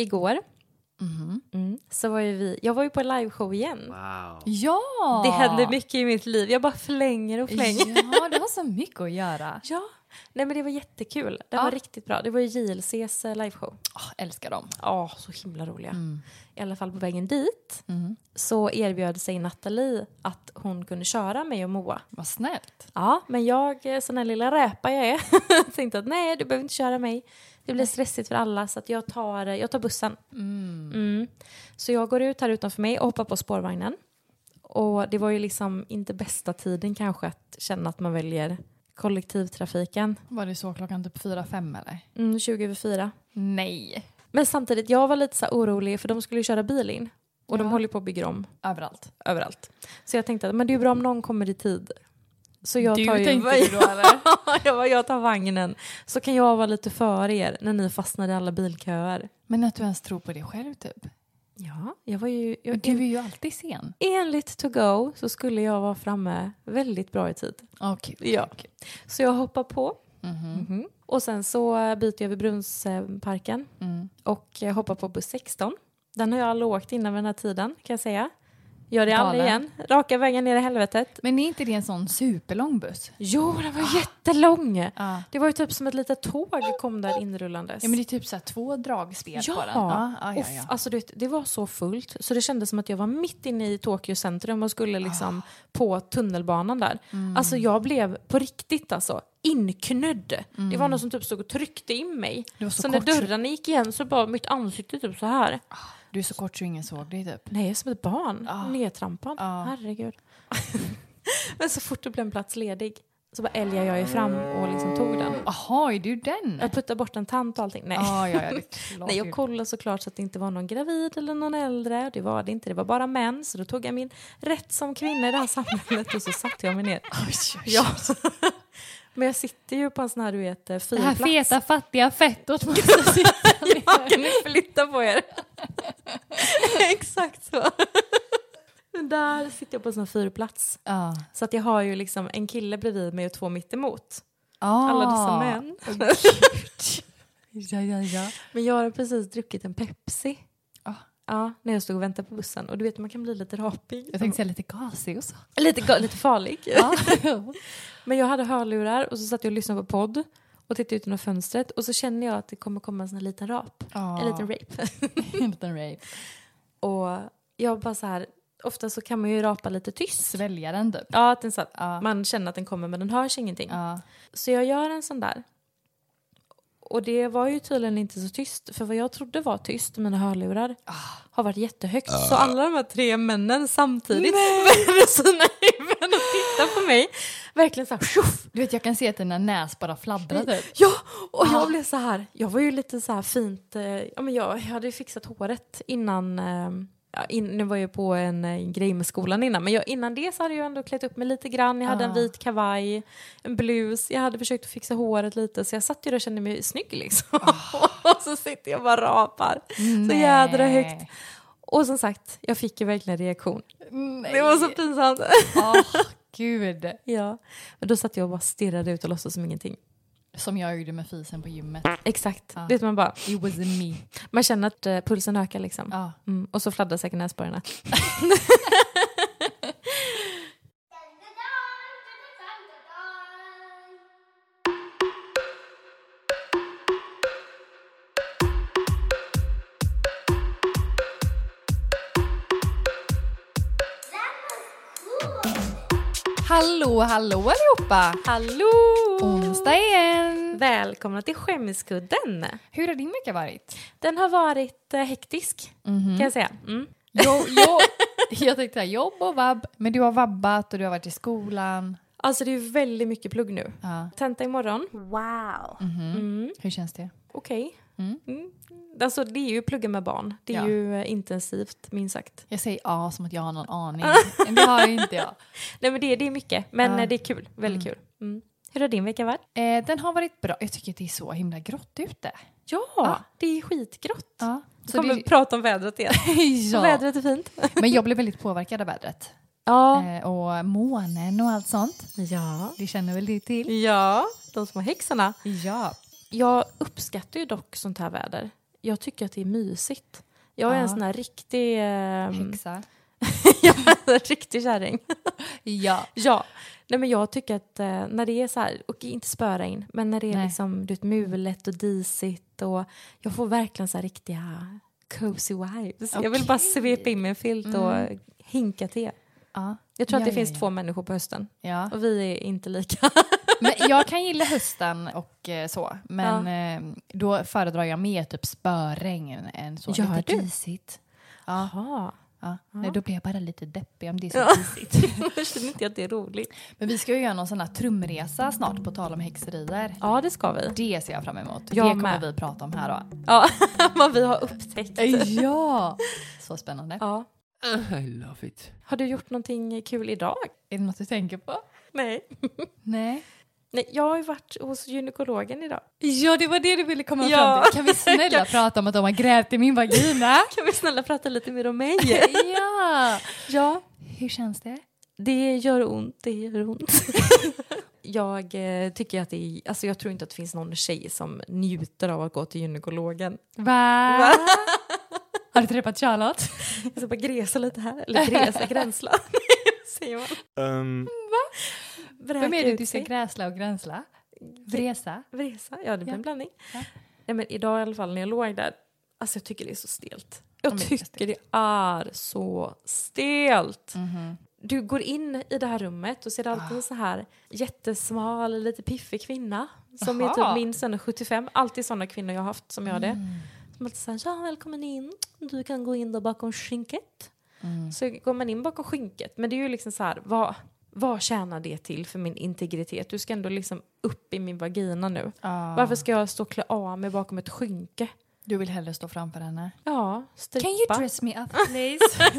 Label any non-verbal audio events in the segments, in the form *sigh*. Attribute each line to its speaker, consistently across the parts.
Speaker 1: igår mm, så var ju vi, jag var ju på liveshow igen.
Speaker 2: Wow.
Speaker 3: Ja!
Speaker 1: Det händer mycket i mitt liv, jag bara flänger och flänger.
Speaker 3: Ja, du har så mycket att göra.
Speaker 1: Ja, nej men det var jättekul. Det
Speaker 3: Ja.
Speaker 1: var riktigt bra. Det var ju JLCs eh, liveshow.
Speaker 3: Åh, Ah, älskar dem.
Speaker 1: Ja, så himla roliga. I alla fall på vägen dit så erbjöd sig Nathalie att hon kunde köra mig och Moa.
Speaker 3: Vad snällt.
Speaker 1: Ja, men jag, eh, sån här lilla räpa jag är, *laughs* tänkte att nej, du behöver inte köra mig. Det blir stressigt för alla så att jag tar, eh, jag tar bussen. Mm. Så jag går ut här utanför mig och hoppar på spårvagnen. Och det var ju liksom inte bästa tiden kanske att känna att man väljer kollektivtrafiken.
Speaker 3: Var det så klockan typ fyra fem eller?
Speaker 1: Mm, 20 över 4.
Speaker 3: Nej.
Speaker 1: Men samtidigt, jag var lite så här orolig för de skulle ju köra bil in. Och de
Speaker 3: Ja.
Speaker 1: håller ju på att bygga om
Speaker 3: Överallt.
Speaker 1: överallt. Så jag tänkte att men det är bra om någon kommer i tid. Så jag tar ju... *laughs*
Speaker 3: då eller?
Speaker 1: jag, bara, jag tar vagnen. Så kan jag vara lite före er när ni fastnar i alla bilköer.
Speaker 3: Men att du ens tror på det själv typ.
Speaker 1: Ja, jag var ju... Jag,
Speaker 3: Du är ju alltid sen.
Speaker 1: Enligt to go så skulle jag vara framme väldigt bra i tid.
Speaker 3: Okej.
Speaker 1: Ja. Så jag hoppar på. Mhm. Och sen så eh, byter jag vid Brunnsparken
Speaker 3: mm.
Speaker 1: och eh, hoppar på buss 16. Den har jag aldrig åkt innan vid den här tiden kan jag säga. Gör det aldrig
Speaker 3: Galen.
Speaker 1: igen. Raka vägen ner i helvetet.
Speaker 3: Men är inte det en sån superlång buss?
Speaker 1: Jo, den var jättelång.
Speaker 3: Ja.
Speaker 1: Det var ju typ som ett litet tåg kom där inrullandes.
Speaker 3: Ja men det är typ så här två dragspel på den. ja, ja,
Speaker 1: Uff,
Speaker 3: ja.
Speaker 1: Alltså, du vet, det var så fullt så det kändes som att jag var mitt inne i Tokyo centrum och skulle liksom
Speaker 3: Ah.
Speaker 1: på tunnelbanan där.
Speaker 3: Mm.
Speaker 1: Alltså jag blev på riktigt alltså inknödd. Det var någon som typ stod och tryckte in mig.
Speaker 3: Mm. Det var
Speaker 1: så
Speaker 3: så
Speaker 1: när
Speaker 3: kort- Ah,
Speaker 1: dörrarna gick igen så bara mitt ansikte typ så här.
Speaker 3: Du är så kort så ingen såg dig typ.
Speaker 1: Nej, som ett barn.
Speaker 3: Ah.
Speaker 1: Nedtrampad.
Speaker 3: Ah.
Speaker 1: Herregud. *laughs* Men så fort det blev en plats ledig så bara älgade jag ju fram och liksom tog den.
Speaker 3: Jaha, är du den?
Speaker 1: Jag puttade bort en tant och allting. Nej.
Speaker 3: Ja, ja, ja, det är klart
Speaker 1: Nej,
Speaker 3: du-
Speaker 1: jag kollade såklart så att det inte var någon gravid eller någon äldre. Det var det inte. Det var bara män. Så då tog jag min rätt som kvinna i det här *laughs* samhället och så satte jag mig
Speaker 3: *laughs*
Speaker 1: ner. Ja. *laughs* Men jag sitter ju på en sån här, du vet, eh,
Speaker 3: Det här
Speaker 1: fyrplats.
Speaker 3: feta fattiga fettot måste sitta ner.
Speaker 1: Ja, *laughs* kan ni flytta på er? *laughs* Exakt så. *laughs* Men där sitter jag på en sån här fyrplats.
Speaker 3: *laughs* Ja.
Speaker 1: Så att jag har ju liksom en kille bredvid mig och två mitt emot.
Speaker 3: Ah.
Speaker 1: Alla dessa män.
Speaker 3: Ja, ja, ja.
Speaker 1: *laughs* Men jag har precis druckit en Pepsi.
Speaker 3: Ah.
Speaker 1: Ja, när jag stod och väntade på bussen. Och du vet, man kan bli lite rapig.
Speaker 3: Jag tänkte säga lite gasig och så.
Speaker 1: Lite, ga- lite farlig.
Speaker 3: Ja.
Speaker 1: *laughs*
Speaker 3: *laughs*
Speaker 1: Men jag hade hörlurar och så satt jag och lyssnade på podd och tittade ut genom fönstret och så känner jag att det kommer komma en sån här liten rap. En liten rape. *laughs*
Speaker 3: en liten rape.
Speaker 1: och jag bara så här, ofta så kan man ju rapa lite tyst.
Speaker 3: Svälja den typ.
Speaker 1: Ja, att den så att
Speaker 3: Ja.
Speaker 1: man känner att den kommer men den hörs ingenting.
Speaker 3: Ja.
Speaker 1: Så jag gör en sån där. Och det var ju tydligen inte så tyst, för vad jag trodde var tyst, mina hörlurar,
Speaker 3: Ah.
Speaker 1: har varit jättehögt. Så alla de här tre männen samtidigt *laughs* vänder sina huvuden och tittar på mig. Verkligen så här, tjoff!
Speaker 3: Du vet, jag kan se att dina näs bara fladdrar typ.
Speaker 1: Ja, och jag blev så här. Jag var ju lite så här fint. Eh, ja, men jag, jag hade ju fixat håret innan. Eh, ja, in, nu var jag på en, eh, grej med skolan innan, men jag, innan det så hade jag ändå klätt upp mig lite grann. Jag hade en vit kavaj, en blus. Jag hade försökt att fixa håret lite, så jag satt ju där och kände mig snygg liksom. *laughs* och så sitter jag och bara rapar så jädra högt. Och som sagt, jag fick ju verkligen en reaktion.
Speaker 3: Nej.
Speaker 1: Det var så pinsamt. *laughs*
Speaker 3: Åh, gud.
Speaker 1: ja, men då satt jag och bara stirrade ut och låtsades som ingenting.
Speaker 3: Som jag gjorde med fisen på gymmet.
Speaker 1: Exakt.
Speaker 3: Ja.
Speaker 1: Vet man bara,
Speaker 3: It was me.
Speaker 1: Man känner att eh, pulsen ökar liksom.
Speaker 3: Ja.
Speaker 1: Mm, och så fladdrar säkert näsborrarna.
Speaker 3: Hallå, hallå allihopa!
Speaker 1: Hallå!
Speaker 3: Onsdag igen!
Speaker 1: Välkomna till Skämskudden.
Speaker 3: Hur har din vecka varit?
Speaker 1: Den har varit eh, hektisk kan jag säga. Mm.
Speaker 3: Jo, jo, *laughs* jag tänkte här, jobb och vabb. Men du har vabbat och du har varit i skolan.
Speaker 1: Alltså det är ju väldigt mycket plugg nu.
Speaker 3: Ja.
Speaker 1: Tenta imorgon. Mm,
Speaker 4: Wow.
Speaker 3: Hur känns det?
Speaker 1: Okej. Mm. Alltså det är ju plugga med barn. Det är
Speaker 3: Ja.
Speaker 1: ju eh, intensivt minst sagt.
Speaker 3: Jag säger ja som att jag har någon aning. Men det har ju inte jag.
Speaker 1: Nej men det, är- det är mycket men
Speaker 3: Ja.
Speaker 1: eh, det är kul. Väldigt kul. Mm. Hur har din vecka varit?
Speaker 3: Eh, den har varit bra. Jag tycker att det är så himla grått ute.
Speaker 1: Ja, det är skitgrått.
Speaker 3: Ja.
Speaker 1: Vi
Speaker 3: Så
Speaker 1: kommer
Speaker 3: det,
Speaker 1: prata om vädret *laughs* igen.
Speaker 3: ja.
Speaker 1: Vädret är fint.
Speaker 3: Men jag blev väldigt påverkad av vädret.
Speaker 1: Ja.
Speaker 3: Eh, och månen och allt sånt.
Speaker 1: ja.
Speaker 3: Det känner väl du till?
Speaker 1: Ja, de små häxorna.
Speaker 3: Ja.
Speaker 1: Jag uppskattar ju dock sånt här väder. Jag tycker att det är mysigt. Jag är
Speaker 3: Ja.
Speaker 1: en sån här riktig, ehm,
Speaker 3: Häxa.
Speaker 1: jag är en *laughs* riktig kärring.
Speaker 3: Ja.
Speaker 1: Ja, nej men jag tycker att eh, när det är så här, och inte spöra in, men när det är
Speaker 3: Nej.
Speaker 1: liksom du vet, mulet och disigt och jag får verkligen så här riktiga cozy vibes. Jag vill bara
Speaker 3: Okej.
Speaker 1: svepa in mig i en filt och
Speaker 3: Mm.
Speaker 1: hinka till.
Speaker 3: Ja.
Speaker 1: Jag tror att
Speaker 3: Ja,
Speaker 1: det
Speaker 3: ja,
Speaker 1: finns
Speaker 3: ja. Ah.
Speaker 1: två människor på hösten
Speaker 3: ja.
Speaker 1: och vi är inte lika.
Speaker 3: Men jag kan gilla hösten och eh, så, men eh, då föredrar jag mer typ spöregn än så.
Speaker 1: Gör
Speaker 3: lite
Speaker 1: du?
Speaker 3: disigt. Ja.
Speaker 1: *laughs* Jaha,
Speaker 3: Ja. Nej, då blir jag bara lite deppig om det är så
Speaker 1: Ja.
Speaker 3: disigt.
Speaker 1: jag känner inte att det är roligt.
Speaker 3: Men vi ska ju göra någon sån här trumresa snart, på tal om häxerier.
Speaker 1: Ja, det ska vi.
Speaker 3: Det ser jag fram emot.
Speaker 1: Jag
Speaker 3: det kommer
Speaker 1: med.
Speaker 3: vi prata om här då.
Speaker 1: Ja, *laughs* vad vi har upptäckt.
Speaker 3: Ja! Så spännande.
Speaker 1: Ja.
Speaker 2: Ah, I love it.
Speaker 1: Har du gjort någonting kul idag?
Speaker 3: Är det något du tänker på?
Speaker 1: Nej.
Speaker 3: Nej.
Speaker 1: Nej, jag har ju varit hos gynekologen idag.
Speaker 3: Ja, det var det du ville komma
Speaker 1: Ja.
Speaker 3: fram till. Kan vi *laughs* snälla prata om att de har grävt i min vagina?
Speaker 1: *laughs* Kan vi snälla prata lite mer om mig? *laughs*
Speaker 3: ja!
Speaker 1: ja.
Speaker 3: Hur känns det?
Speaker 1: Det gör ont, det gör *laughs* ont. jag eh, tycker att det är, alltså jag tror inte att det finns någon tjej som njuter av att gå till gynekologen.
Speaker 3: Va? Har du träffat Charlotte?
Speaker 1: Jag ska bara gresa lite här, *laughs* eller gresa, gränsla. Säger man.
Speaker 2: Um,
Speaker 3: Vem är
Speaker 1: Vräka
Speaker 3: det
Speaker 1: ut
Speaker 3: du ska
Speaker 1: sig.
Speaker 3: gräsla och gränsla? Vresa?
Speaker 1: Vresa, ja det blir
Speaker 3: Ja.
Speaker 1: en blandning.
Speaker 3: Ja.
Speaker 1: Nej men idag i alla fall när jag låg där, alltså jag tycker det är så stelt. Jag
Speaker 3: men det är
Speaker 1: tycker det är så stelt.
Speaker 3: Mhm.
Speaker 1: Du går in i det här rummet och ser
Speaker 3: Ah.
Speaker 1: alltid en så här jättesmal, lite piffig kvinna som är
Speaker 3: Jaha. Mm.
Speaker 1: typ min son är 75. Alltid sådana kvinnor jag har haft som gör det. Som alltid säger ja välkommen in, du kan gå in där bakom skynket.
Speaker 3: Mm.
Speaker 1: Så går man in bakom skynket, men det är ju liksom så här, vad, vad tjänar det till för min integritet? Du ska ändå liksom upp i min vagina nu. Varför ska jag stå och klä av mig bakom ett skynke?
Speaker 3: Du vill hellre stå framför henne.
Speaker 1: Ja,
Speaker 3: Can you
Speaker 1: strippa.
Speaker 3: dress me up please?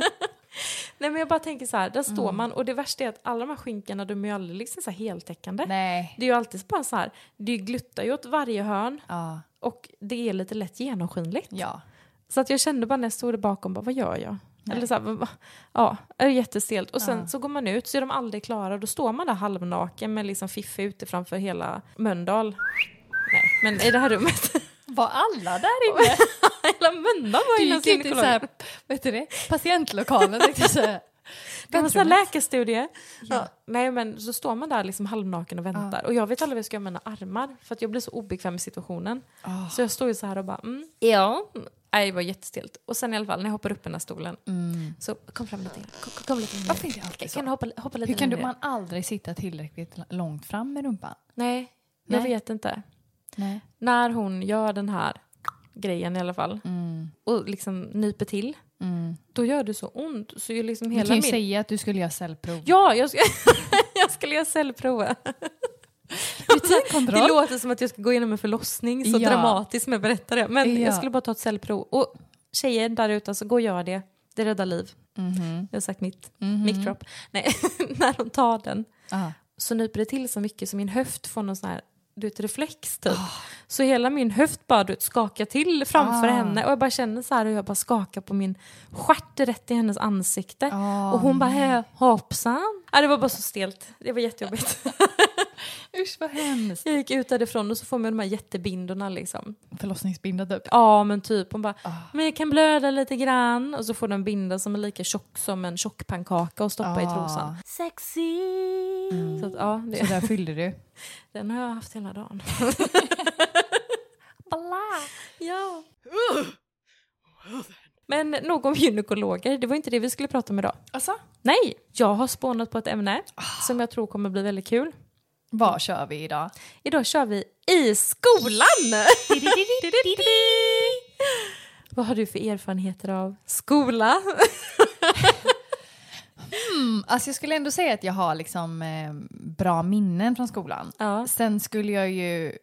Speaker 1: Nej men jag bara tänker så här, där
Speaker 3: Mm.
Speaker 1: står man och det värsta är att alla de här skynkena de är ju aldrig liksom så här heltäckande.
Speaker 3: *laughs* Nej.
Speaker 1: Det är ju alltid bara så här, det gluttar ju åt varje hörn
Speaker 3: Ja.
Speaker 1: och det är lite lätt genomskinligt.
Speaker 3: ja.
Speaker 1: Så att jag kände bara när jag stod där bakom, bara, vad gör jag? Eller så här, va- va- ja, det är jättestelt. Och sen
Speaker 3: Ja.
Speaker 1: så går man ut så är de aldrig klara. Då står man där halvnaken med liksom fiffi ute framför hela Mölndal. Nej, men i det här rummet. *laughs*
Speaker 3: Var alla där inne?
Speaker 1: hela Mölndal var
Speaker 3: Du
Speaker 1: ju någon
Speaker 3: gick ut i så
Speaker 1: gynekolog.
Speaker 3: här, vad heter det? patientlokalen. tänkte jag säga.
Speaker 1: Det var sån här
Speaker 3: Väntrummet.
Speaker 1: läkarstudie. Ja. Nej men så står man där liksom halvnaken och väntar. Och jag vet aldrig vad jag ska göra med mina armar. För att jag blir så obekväm i situationen.
Speaker 3: Ah.
Speaker 1: Så jag står ju så här och bara mm. Ja. Nej det var jättestelt. Och sen i alla fall när jag hoppar upp i den här stolen. Så kom fram lite. Mm. Kom, kom- kom lite
Speaker 3: Varför är det alltid
Speaker 1: Kan,
Speaker 3: så?
Speaker 1: kan du hoppa, hoppa lite
Speaker 3: Hur kan du,
Speaker 1: längre?
Speaker 3: man aldrig sitta tillräckligt l- långt fram med rumpan?
Speaker 1: Nej, jag
Speaker 3: Nej.
Speaker 1: vet inte.
Speaker 3: Nej.
Speaker 1: När hon gör den här grejen i alla fall
Speaker 3: Mm.
Speaker 1: och liksom nyper till,
Speaker 3: Mm.
Speaker 1: då gör det så ont så ju liksom
Speaker 3: Du
Speaker 1: hela
Speaker 3: kan ju
Speaker 1: min...
Speaker 3: säga att du skulle göra cellprov.
Speaker 1: Ja, jag, ska... *laughs* jag skulle göra cellprover. Det
Speaker 3: *laughs* Rutinkontroll.
Speaker 1: låter som att jag ska gå igenom en förlossning så
Speaker 3: Ja.
Speaker 1: dramatiskt när jag berättar det. Men
Speaker 3: Ja.
Speaker 1: jag skulle bara ta ett cellprov. Och tjejer där ute, så gå och gör det. Det räddar liv.
Speaker 3: Mhm.
Speaker 1: Jag har sagt mitt,
Speaker 3: Mhm.
Speaker 1: mitt drop. Nej, *laughs* när de tar den
Speaker 3: Ah.
Speaker 1: så nyper det till så mycket så min höft får någon sån här du vet, reflex typ. Så hela min höft bara du vet, skakar till framför
Speaker 3: Ah.
Speaker 1: henne och jag bara känner så här hur jag bara skakar på min stjärt rätt i hennes ansikte.
Speaker 3: Ah.
Speaker 1: Och hon bara "Hä, hoppsan. Ja, det var bara så stelt, det var
Speaker 3: *laughs*
Speaker 1: jättejobbigt.
Speaker 3: Usch vad hemskt.
Speaker 1: jag gick ut därifrån och så får man de här jättebindorna liksom.
Speaker 3: Förlossningsbinda typ.
Speaker 1: Ja men typ, hon bara
Speaker 3: Ah.
Speaker 1: men jag kan blöda lite grann och så får de en binda som är lika tjock som en tjockpannkaka och stoppa i
Speaker 3: Ah.
Speaker 1: trosan.
Speaker 4: Sexy.
Speaker 1: Så att, ja,
Speaker 3: Så
Speaker 1: det,
Speaker 3: där fyllde du.
Speaker 1: den har jag haft hela *laughs* dagen.
Speaker 3: Bla.
Speaker 1: Ja. Men nog om gynekologer, det var inte det vi skulle prata om idag.
Speaker 3: Alltså,
Speaker 1: Nej, jag har spånat på ett ämne som jag tror kommer bli väldigt kul.
Speaker 3: vad kör vi idag?
Speaker 1: Idag kör vi i *laughs* skolan! Vad har du för erfarenheter av skola?
Speaker 3: Mm, alltså jag skulle ändå säga att jag har liksom eh, bra minnen från skolan.
Speaker 1: Ja.
Speaker 3: Sen skulle jag ju...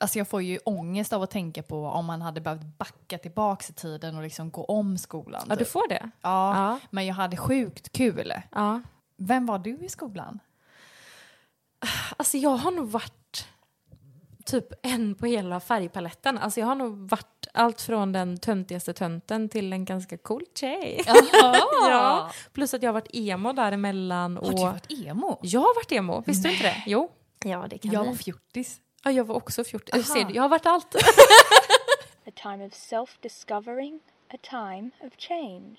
Speaker 3: Alltså jag får ju ångest av att tänka på om man hade behövt backa tillbaka i tiden och liksom gå om skolan.
Speaker 1: ja, du
Speaker 3: typ.
Speaker 1: får det.
Speaker 3: ja,
Speaker 1: Ja.
Speaker 3: Men jag hade sjukt kul.
Speaker 1: ja.
Speaker 3: Vem var du i skolan?
Speaker 1: Alltså jag har nog varit typ en på hela färgpaletten. Alltså jag har nog varit allt från den töntigaste tönten till en ganska cool tjej.
Speaker 3: *laughs*
Speaker 1: *laughs* ja. Plus att jag har varit emo däremellan. Och...
Speaker 3: Har du varit emo?
Speaker 1: Jag har varit emo, visste du inte det? Jo. Ja, det
Speaker 3: Jag var fjortis.
Speaker 1: Ja, jag var också 14. Jag,
Speaker 3: Aha. *laughs*
Speaker 1: ser, det, jag har varit allt.
Speaker 4: I time of self discovering, a time of change.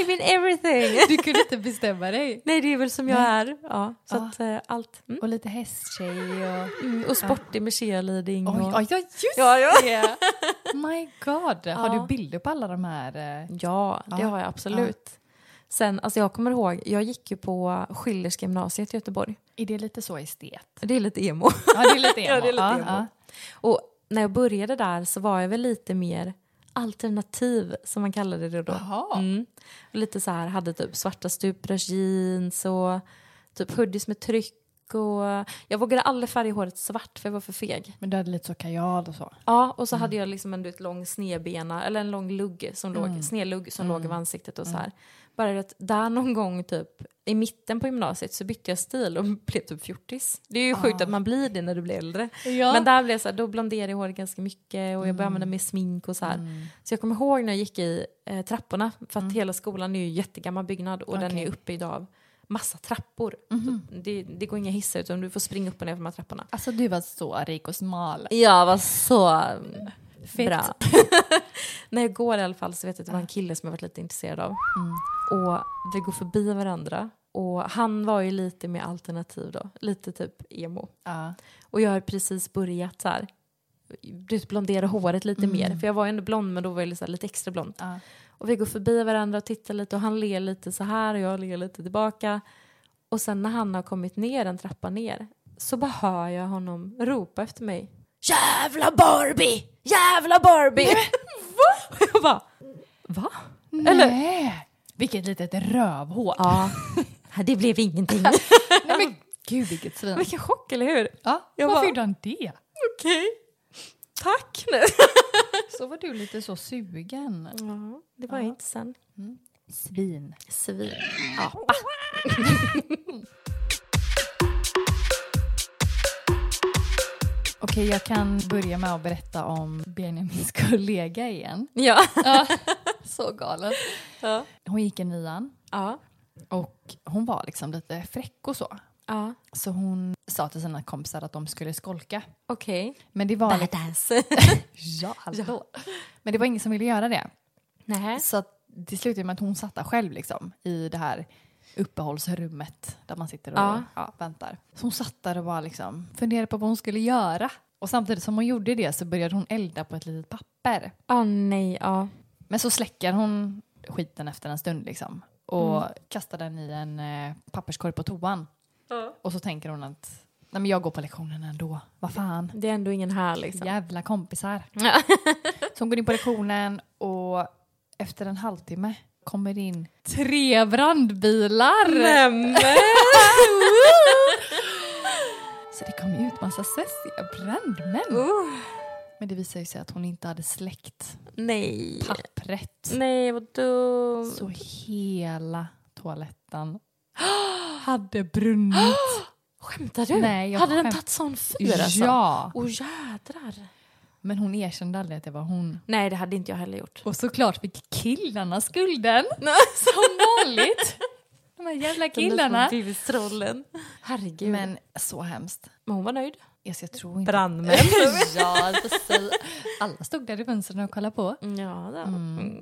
Speaker 1: I mean everything!
Speaker 3: Du kunde inte bestämma dig.
Speaker 1: Nej, det är väl som jag är. Ja, så
Speaker 3: Ja.
Speaker 1: att eh, allt. Mm.
Speaker 3: Och lite hästtjej och...
Speaker 1: Mm, och sportig med cheerleading.
Speaker 3: Oj,
Speaker 1: och-
Speaker 3: oj, ja, just
Speaker 1: Ja, ja.
Speaker 3: det! My god. Har du bilder på alla de här? eh?
Speaker 1: *laughs* Ja, det
Speaker 3: Ja.
Speaker 1: har jag absolut. Sen, alltså jag kommer ihåg, jag gick ju på Schillerska gymnasiet i Göteborg.
Speaker 3: Är det lite
Speaker 1: *laughs*
Speaker 3: så estet?
Speaker 1: Det är lite emo.
Speaker 3: Ja, det är lite emo.
Speaker 1: Ja, det är lite
Speaker 3: ja,
Speaker 1: emo.
Speaker 3: ja.
Speaker 1: Och när jag började där så var jag väl lite mer alternativ som man kallade det då.
Speaker 3: Jaha.
Speaker 1: Mm. Och lite så här, hade typ svarta stuprörsjeans och typ hoodies med tryck och jag vågade aldrig färga håret svart för jag var för feg.
Speaker 3: Men du hade lite så kajal och så?
Speaker 1: Ja, och så hade jag liksom en du vet, lång snedbena, eller en lång lugg som låg, snedlugg som låg över ansiktet och så här. Bara det att där någon gång typ i mitten på gymnasiet så bytte jag stil och *laughs* blev typ fjortis. Det är ju sjukt att man blir det när du blir äldre.
Speaker 3: Ja.
Speaker 1: Men där blev jag så här, då blonderade jag håret ganska mycket och jag började använda mer smink och så här. Så jag kommer ihåg när jag gick i eh, trapporna, för att hela skolan är ju en jättegammal byggnad och den
Speaker 3: Okej.
Speaker 1: är uppbyggd av massa trappor. Så det, det går inga hissar utan du får springa upp och ner för de här trapporna.
Speaker 3: Alltså du var så rik och smal.
Speaker 1: Jag var så
Speaker 3: Fett.
Speaker 1: bra. *laughs* När jag går i alla fall så vet jag att det var en kille som jag varit lite intresserad av. Och vi går förbi varandra och han var ju lite mer alternativ då, lite typ emo.
Speaker 3: Ja.
Speaker 1: Och jag har precis börjat så här du vet, blondera håret lite mer. För jag var ju ändå blond men då var jag lite, så här, lite extra blond.
Speaker 3: Ja.
Speaker 1: Och vi går förbi varandra och tittar lite och han ler lite så här och jag ler lite tillbaka. Och sen när han har kommit ner en trappa ner så bara hör jag honom ropa efter mig. Jävla Barbie! Jävla Barbie! Va? *laughs* Och jag bara, va?
Speaker 3: Nej. Vilket litet *laughs* rövhål.
Speaker 1: Ja, *laughs* det blev *laughs* ingenting.
Speaker 3: Nej, men gud vilket svin.
Speaker 1: Vilken chock, eller hur?
Speaker 3: Ja,
Speaker 1: Jag
Speaker 3: varför
Speaker 1: bara-
Speaker 3: gjorde han det?
Speaker 1: Okej. Tack nu.
Speaker 3: Så var du lite så sugen.
Speaker 1: Ja, det var inte sen.
Speaker 3: Svin.
Speaker 1: Svin.
Speaker 3: Okej, jag kan börja med att berätta om Benjamins *laughs* kollega igen.
Speaker 1: *laughs* Ja.
Speaker 3: Så galen.
Speaker 1: Ja.
Speaker 3: Hon gick i nian
Speaker 1: Ja.
Speaker 3: och hon var liksom lite fräck och så.
Speaker 1: ja.
Speaker 3: Så hon sa till sina kompisar att de skulle skolka.
Speaker 1: Okej.
Speaker 3: Men det var, lite,
Speaker 1: Badass. *laughs*
Speaker 3: ja, hallå. Men det var ingen som ville göra det.
Speaker 1: Nej.
Speaker 3: Så att det slutade med att hon satt där själv liksom, i det här uppehållsrummet där man sitter och
Speaker 1: Ja.
Speaker 3: ja. väntar. Så hon satt där och bara liksom, funderade på vad hon skulle göra. Och samtidigt som hon gjorde det så började hon elda på ett litet papper.
Speaker 1: Åh nej, ja.
Speaker 3: Men så släcker hon skiten efter en stund liksom och kastar den i en eh, papperskorg på toan. Och så tänker hon att Nej, men jag går på lektionen ändå, vad fan.
Speaker 1: Det är ändå ingen här liksom. *laughs*
Speaker 3: Jävla kompisar. så hon går in på lektionen och efter en halvtimme kommer det in tre brandbilar.
Speaker 1: Nämen!
Speaker 3: Så det kom ut massa sessiga brandmän.
Speaker 1: Uh.
Speaker 3: Men det visade ju sig att hon inte hade släckt
Speaker 1: Nej.
Speaker 3: pappret.
Speaker 1: Nej, Mm. vad dumt.
Speaker 3: Så hela toaletten hade
Speaker 1: *gasps*
Speaker 3: brunnit.
Speaker 1: Skämtar du?
Speaker 3: Nej, jag
Speaker 1: Hade den
Speaker 3: skämt-
Speaker 1: tagit sån fyr alltså?
Speaker 3: Ja,
Speaker 1: Åh jädrar.
Speaker 3: men hon erkände aldrig att det var hon.
Speaker 1: Nej, det hade inte jag heller gjort.
Speaker 3: Och såklart fick
Speaker 1: *laughs*
Speaker 3: killarna skulden. Som vanligt. De här jävla killarna.
Speaker 1: Den där små bustrollen. Herregud. Men,
Speaker 3: Men så hemskt.
Speaker 1: hon var nöjd.
Speaker 3: Yes, jag tror inte...
Speaker 1: Brandmän.
Speaker 3: *laughs* ja, precis. Alla stod där i fönstren och kollade på.
Speaker 1: *laughs* ja, då. Mm.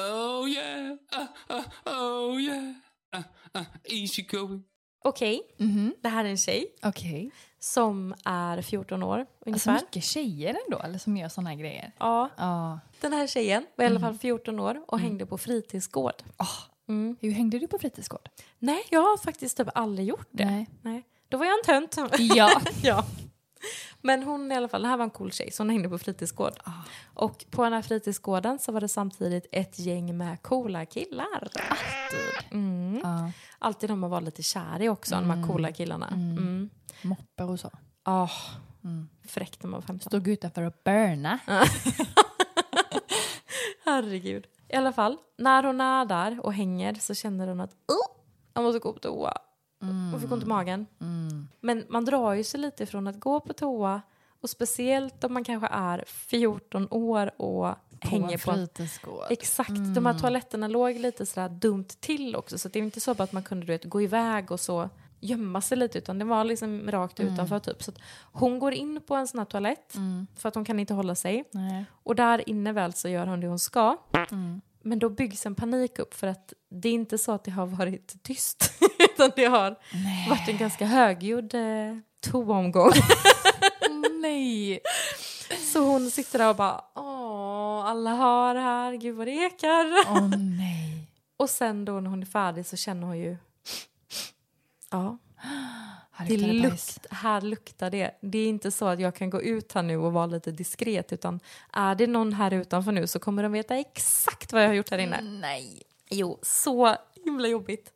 Speaker 2: Oh yeah, uh, uh, oh yeah, uh, uh, easy going.
Speaker 1: Okej,
Speaker 3: Mhm.
Speaker 1: det här är en tjej
Speaker 3: Okej.
Speaker 1: som är 14 år
Speaker 3: Alltså
Speaker 1: ungefär.
Speaker 3: mycket tjejer ändå, eller som gör såna här grejer.
Speaker 1: ja,
Speaker 3: Ja.
Speaker 1: den här tjejen var i alla fall 14 år och hängde på fritidsgård. Mm.
Speaker 3: Hur hängde du på fritidsgård?
Speaker 1: Nej, jag har faktiskt typ aldrig gjort det.
Speaker 3: Nej.
Speaker 1: Nej. Då var jag en tönt. *laughs*
Speaker 3: *laughs* Ja.
Speaker 1: ja. Men hon i alla fall, det här var en cool tjej, så hon hängde på fritidsgård. Och på den här fritidsgården så var det samtidigt ett gäng med coola killar. Mm.
Speaker 3: ja.
Speaker 1: Alltid de man var lite kär i också, de här coola killarna. Mm.
Speaker 3: Moppar och så.
Speaker 1: Ah, Fräckt när man var 15.
Speaker 3: Stod utanför och burna.
Speaker 1: Herregud. I alla fall, när hon är där och hänger så känner hon att oh, jag måste gå på toa.
Speaker 3: Mm.
Speaker 1: Hon fick ont i magen. Men man drar ju sig lite från att gå på toa och speciellt om man kanske är 14 år och hänger på en
Speaker 3: fritidsgård.
Speaker 1: Exakt, de
Speaker 3: Mm.
Speaker 1: här toaletterna låg lite sådär dumt till också så det är ju inte så bara att man kunde du vet, gå iväg och så gömma sig lite utan det var liksom rakt
Speaker 3: Mm.
Speaker 1: utanför typ. Så att hon går in på en sån här toalett
Speaker 3: Mm.
Speaker 1: för att hon kan inte hålla sig
Speaker 3: Nej.
Speaker 1: och där inne väl så gör hon det hon ska. Men då byggs en panik upp för att det är inte så att det har varit tyst *laughs* utan det har varit en ganska högljudd eh, toaomgång.
Speaker 3: Nej.
Speaker 1: Så hon sitter där och bara åh, alla har här, gud vad det ekar.
Speaker 3: Åh nej.
Speaker 1: Och sen då när hon är färdig så känner hon ju ja,
Speaker 3: Här
Speaker 1: det
Speaker 3: luktar det bajs.
Speaker 1: lukt, här luktar det. Det är inte så att jag kan gå ut här nu och vara lite diskret utan är det någon här utanför nu så kommer de veta exakt vad jag har gjort här inne.
Speaker 3: Mm, Nej. Mm.
Speaker 1: Jo, så himla jobbigt.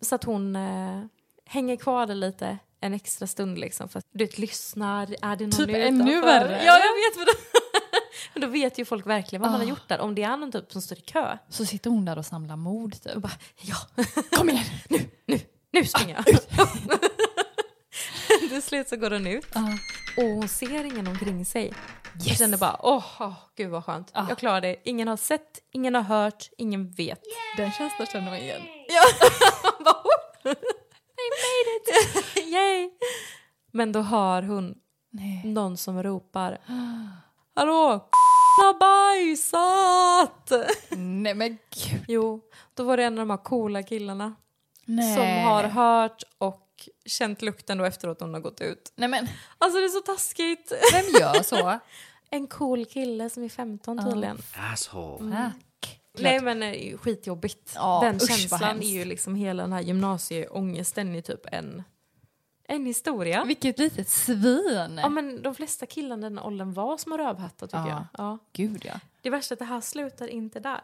Speaker 1: Så att hon eh, hänger kvar där lite en extra stund liksom. För att du vet, lyssnar, är det någon
Speaker 3: Typ
Speaker 1: nu
Speaker 3: ännu
Speaker 1: utanför?
Speaker 3: värre,
Speaker 1: Ja, jag vet. *laughs* Men då, men då vet ju folk verkligen vad man har
Speaker 3: Ah.
Speaker 1: gjort där. Om det är någon typ som står i kö.
Speaker 3: Så sitter hon där och samlar mod typ.
Speaker 1: Och bara, ja,
Speaker 3: Kom igen!
Speaker 1: *laughs*
Speaker 3: Ah,
Speaker 1: nu springer jag. *laughs* Till slut så går hon ut
Speaker 3: Ah.
Speaker 1: och hon ser ingen omkring sig. Jag
Speaker 3: Yes.
Speaker 1: känner bara, åh, åh, gud vad skönt.
Speaker 3: Ah.
Speaker 1: Jag klarar det. Ingen har sett, ingen har hört, ingen vet.
Speaker 3: Den känslan känner man igen.
Speaker 1: *laughs* Yay! Men då hör hon
Speaker 3: Nej.
Speaker 1: någon som ropar Hallå! har bajsat! *laughs*
Speaker 3: Nej men gud.
Speaker 1: Jo, då var det en av de här coola killarna
Speaker 3: Nej.
Speaker 1: som har hört och känt lukten då efteråt hon har gått ut.
Speaker 3: Nej men
Speaker 1: Alltså det är så taskigt! *laughs*
Speaker 3: vem gör *laughs* så?
Speaker 1: En cool kille som är 15 tydligen.
Speaker 5: Asshole.
Speaker 3: Mm. Tack.
Speaker 1: Nej men eh, skitjobbigt.
Speaker 3: Ja,
Speaker 1: den
Speaker 3: usch, vad
Speaker 1: känslan
Speaker 3: hemskt.
Speaker 1: är ju liksom hela den här gymnasieångesten i typ en, en historia.
Speaker 3: Vilket litet svin.
Speaker 1: Ja men de flesta killarna i den åldern var små rövhattar tycker
Speaker 3: Ja.
Speaker 1: jag. Ja.
Speaker 3: Gud ja.
Speaker 1: Det värsta är att det här slutar inte där.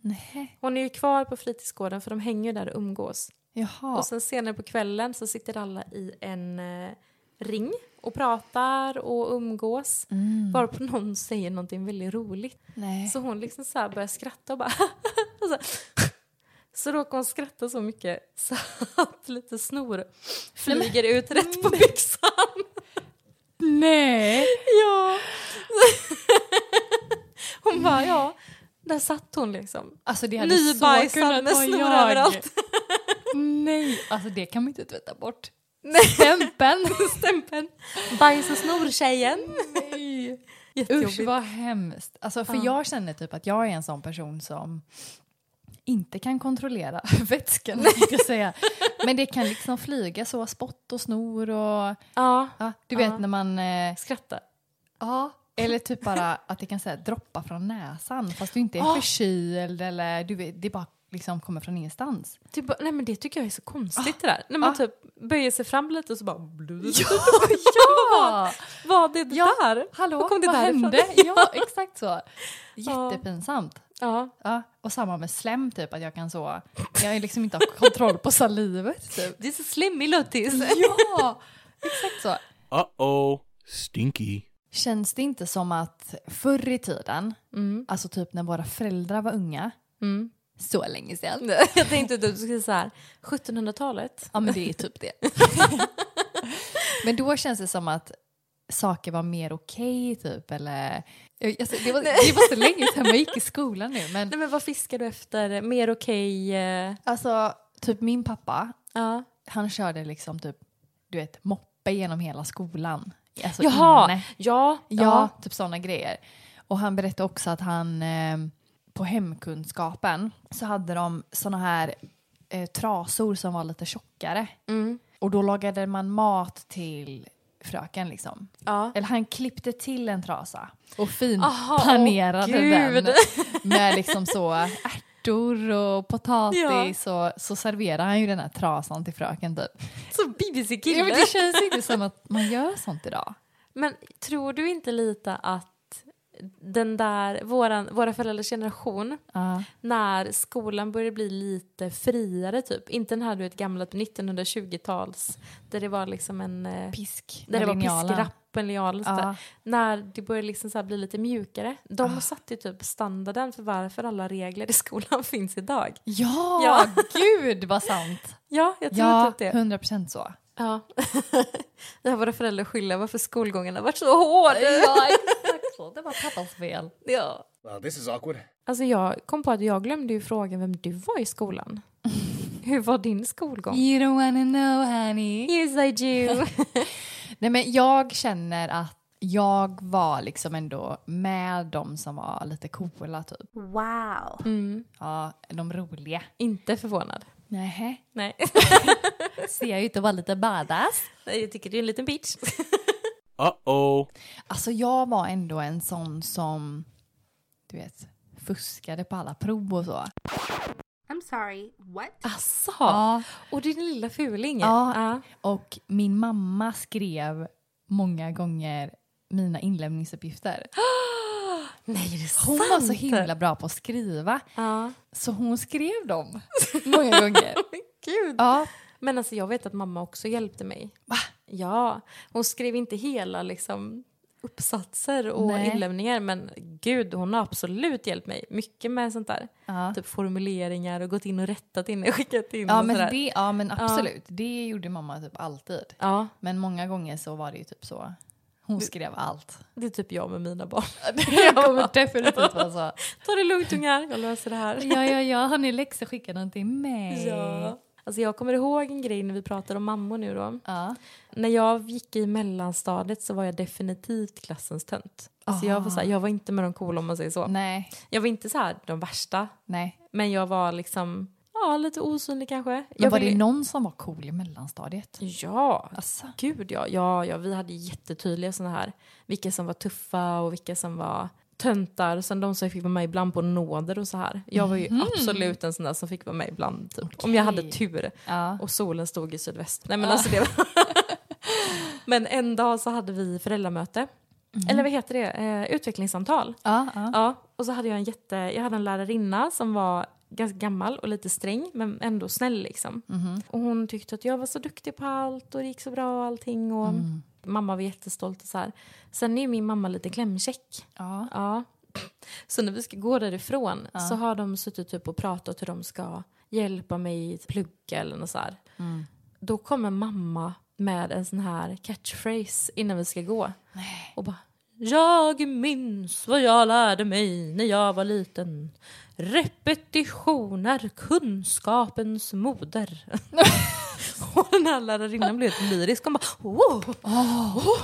Speaker 3: Nej.
Speaker 1: Hon är ju kvar på fritidsgården för de hänger ju där och umgås.
Speaker 3: Jaha.
Speaker 1: Och sen senare på kvällen så sitter alla i en eh, ring och pratar och umgås.
Speaker 3: Mm.
Speaker 1: Varpå någon säger någonting väldigt roligt.
Speaker 3: Nej.
Speaker 1: Så hon liksom så här börjar skratta och bara... *laughs* och så, så råkar hon skratta så mycket så att lite snor flyger ut rätt på
Speaker 3: *laughs*
Speaker 1: byxan.
Speaker 3: Nej.
Speaker 1: Ja. *laughs* Hon bara ja, där satt hon liksom.
Speaker 3: Alltså det hade så
Speaker 1: Nybajsad
Speaker 3: kunnat
Speaker 1: med
Speaker 3: vara
Speaker 1: snor
Speaker 3: jag.
Speaker 1: överallt.
Speaker 3: *laughs* Nej. Alltså det kan man inte tvätta bort.
Speaker 1: Nej.
Speaker 3: Stämpeln.
Speaker 1: Stämpeln. Bajs och snor-tjejen.
Speaker 3: *laughs* Nej. Usch
Speaker 1: Jättejobbigt.
Speaker 3: vad hemskt. Alltså, för jag känner typ att jag är en sån person som inte kan kontrollera *laughs* vätskan, tänkte jag säga. Men det kan liksom flyga så, spott och snor och...
Speaker 1: Ja,
Speaker 3: Ja, du vet
Speaker 1: Ja.
Speaker 3: när man... eh,
Speaker 1: skratta.
Speaker 3: Ja. Eller typ bara att det kan säga droppa från näsan fast du inte är
Speaker 1: Ja.
Speaker 3: förkyld eller du vet, det bara liksom kommer från ingenstans.
Speaker 1: Typ, nej men det tycker jag är så konstigt det där. När man
Speaker 3: Ah.
Speaker 1: typ böjer sig fram lite och så bara...
Speaker 3: Ja!
Speaker 1: *laughs* Vad är det
Speaker 3: Ja.
Speaker 1: där?
Speaker 3: Hallå,
Speaker 1: Var kom det
Speaker 3: vad
Speaker 1: därifrån? *laughs*
Speaker 3: hände? Ja, exakt så. Jättepinsamt.
Speaker 1: Ja.
Speaker 3: Ja, och samma med slem typ, att jag kan så, jag är liksom inte har kontroll på
Speaker 1: *laughs*
Speaker 3: salivet typ.
Speaker 1: Det är så slimmig Luttis.
Speaker 3: *laughs* Ja, exakt så.
Speaker 5: Uh-oh. Stinky.
Speaker 3: Känns det inte som att förr i tiden, alltså typ när våra föräldrar var unga, så länge sedan.
Speaker 1: *laughs* Jag tänkte att du skulle säga så här, 1700-talet.
Speaker 3: Ja men det är typ det. *laughs* men då känns det som att saker var mer okej typ eller, Jag- alltså, det, var, det var så länge sedan man gick i skolan nu men
Speaker 1: Nej men vad fiskar du efter? Mer okej? eh,
Speaker 3: alltså typ min pappa,
Speaker 1: ja.
Speaker 3: han körde liksom typ, du vet, moppe genom hela skolan. Alltså
Speaker 1: Jaha,
Speaker 3: inne.
Speaker 1: Mm. ja.
Speaker 3: Ja, typ sådana grejer. Och han berättade också att han eh, på hemkunskapen så hade de såna här eh, trasor som var lite tjockare.
Speaker 1: Mm.
Speaker 3: Och då lagade man mat till fröken liksom.
Speaker 1: Ja.
Speaker 3: Eller han klippte till en trasa och fint
Speaker 1: Aha, åh,
Speaker 3: panerade
Speaker 1: gud.
Speaker 3: den *laughs* med liksom så ärtor och potatis och så serverade han ju den här trasan till fröken typ.
Speaker 1: Så BBC-kille.
Speaker 3: Ja, men det känns inte som att man gör sånt idag.
Speaker 1: Men tror du inte lite att den där, våran, våra föräldrars generation,
Speaker 3: Ja.
Speaker 1: när skolan började bli lite friare typ, inte den här du vet gamla 1920-tals där det var liksom en, eh,
Speaker 3: Pisk.
Speaker 1: där det var
Speaker 3: linjalen.
Speaker 1: piskrapp, en linjal och sånt
Speaker 3: Ja.
Speaker 1: där. När det började liksom så här bli lite mjukare, de satte ju typ standarden för varför alla regler i skolan *laughs* finns idag.
Speaker 3: Ja,
Speaker 1: Ja.
Speaker 3: *laughs* gud vad sant.
Speaker 1: Ja, jag tror
Speaker 3: Ja,
Speaker 1: typ det.
Speaker 3: 100 procent så.
Speaker 1: Ja. *laughs* det här våra föräldrar skyller varför skolgången har varit så hård.
Speaker 3: Ja, exakt så. Det var pappas fel.
Speaker 1: *laughs* Ja.
Speaker 5: Well, this is awkward.
Speaker 1: *laughs* Alltså jag kom på att jag glömde ju fråga vem du var i skolan. Hur var din skolgång?
Speaker 3: You don't wanna know honey.
Speaker 1: Yes I do.
Speaker 3: Nej, men jag känner att jag var liksom ändå med de som var lite coola typ.
Speaker 4: Wow.
Speaker 3: Ja, de roliga.
Speaker 1: *laughs* Inte förvånad.
Speaker 3: Nähä,
Speaker 1: *laughs* Nej.
Speaker 3: ser jag ut att vara lite badass?
Speaker 1: Nej, jag tycker du är en liten bitch.
Speaker 5: Uh oh.
Speaker 3: Alltså jag var ändå en sån som, du vet, fuskade på alla prov och så.
Speaker 6: I'm sorry, what?
Speaker 1: *laughs* Asså?
Speaker 3: Ja.
Speaker 1: Och din lilla fuling.
Speaker 3: Ja. Och min mamma skrev många gånger mina inlämningsuppgifter.
Speaker 1: Nej, det är
Speaker 3: Hon
Speaker 1: sant.
Speaker 3: var så himla bra på att skriva,
Speaker 1: typ. Ja.
Speaker 3: så hon
Speaker 1: *laughs*
Speaker 3: skrev dem många gånger.
Speaker 1: Gud.
Speaker 3: Ja,
Speaker 1: Men alltså jag vet att mamma också hjälpte mig. Va? Ja, hon skrev inte hela liksom uppsatser och
Speaker 3: Nej.
Speaker 1: inlämningar men gud hon har absolut hjälpt mig mycket med sånt där.
Speaker 3: Ja.
Speaker 1: Typ formuleringar och gått in och rättat in *laughs* och skickat in
Speaker 3: ja,
Speaker 1: och Alltså sådär.
Speaker 3: men, det, ja men absolut, det gjorde mamma typ alltid.
Speaker 1: Ja,
Speaker 3: Men många gånger så var det ju typ så, hon skrev allt.
Speaker 1: *laughs* det är typ jag med mina barn.
Speaker 3: *laughs*
Speaker 1: *laughs*
Speaker 3: Jag kommer definitivt vara så.
Speaker 1: Ta det lugnt ungar, jag löser det här.
Speaker 3: Ja, ja, ja, har ni läxor skicka någon till
Speaker 1: *laughs*
Speaker 3: mig?
Speaker 1: Ja. Alltså jag kommer ihåg en grej när vi pratar om mammor nu då.
Speaker 3: Ja.
Speaker 1: När jag gick i mellanstadiet så var jag definitivt klassens tönt. Alltså jag, var
Speaker 3: Ah.
Speaker 1: så här, jag var inte med de coola om man säger så.
Speaker 3: Nej,
Speaker 1: Jag var inte så här de värsta
Speaker 3: nej.
Speaker 1: Men jag var liksom, ja lite osynlig kanske.
Speaker 3: Men
Speaker 1: jag
Speaker 3: var
Speaker 1: ville-
Speaker 3: det någon som var cool i mellanstadiet?
Speaker 1: Ja,
Speaker 3: Alltså.
Speaker 1: gud ja. ja, ja. Vi hade jättetydliga sådana här, vilka som var tuffa och vilka som var töntar. Sen de som fick vara med ibland på nåder och så här. Jag var ju
Speaker 3: Mhm.
Speaker 1: absolut en sån där som fick vara med ibland, typ. om jag hade tur.
Speaker 3: Ja. Ah.
Speaker 1: Och solen stod i sydväst. Nej men alltså det var... *laughs* men en dag så hade vi föräldramöte. Eller vad heter det? Eh, utvecklingssamtal.
Speaker 3: Mhm. Ja, ja.
Speaker 1: Ja, och så hade jag en jätte, jag hade en lärarinna som var ganska gammal och lite sträng men ändå snäll liksom.
Speaker 3: Mhm.
Speaker 1: Och hon tyckte att jag var så duktig på allt och det gick så bra och allting och mamma var jättestolt och så här. Sen är ju min mamma lite klämkäck.
Speaker 3: Ja.
Speaker 1: Ja. Så när vi ska gå därifrån så har de suttit typ och pratat hur de ska hjälpa mig att plugga eller något så här. Då kommer mamma med en sån här catchphrase innan vi ska gå. Och bara jag minns vad jag lärde mig när jag var liten. Repetition är kunskapens moder. *laughs* och den här lärarinnan blev helt lyrisk. Hon bara wow, åh,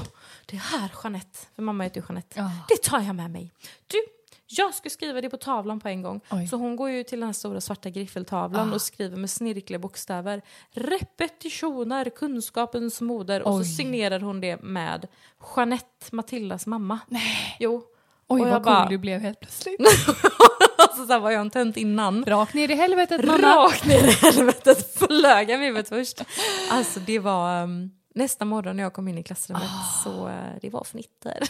Speaker 1: det här Jeanette, för mamma heter ju Jeanette,
Speaker 3: Ja.
Speaker 1: det tar jag med mig. Du, jag ska skriva det på tavlan på en gång.
Speaker 3: Oj. Ah.
Speaker 1: Så hon går ju till den här stora svarta griffeltavlan och skriver med snirkliga bokstäver. Repetition är kunskapens moder. Och
Speaker 3: Oj.
Speaker 1: så signerar hon det med Jeanette, Matildas mamma. Nej. Jo. *laughs*
Speaker 3: Oj,
Speaker 1: Och
Speaker 3: vad
Speaker 1: jag
Speaker 3: cool
Speaker 1: bara-
Speaker 3: du blev
Speaker 1: *laughs*
Speaker 3: helt plötsligt.
Speaker 1: Alltså så här var jag en tönt innan.
Speaker 3: Rakt ner i helvetet mamma.
Speaker 1: Rakt ner i helvetet flög jag huvudet först. Alltså det var ehm, nästa morgon när jag kom in i klassrummet
Speaker 3: Ah.
Speaker 1: så eh, det var fnitter.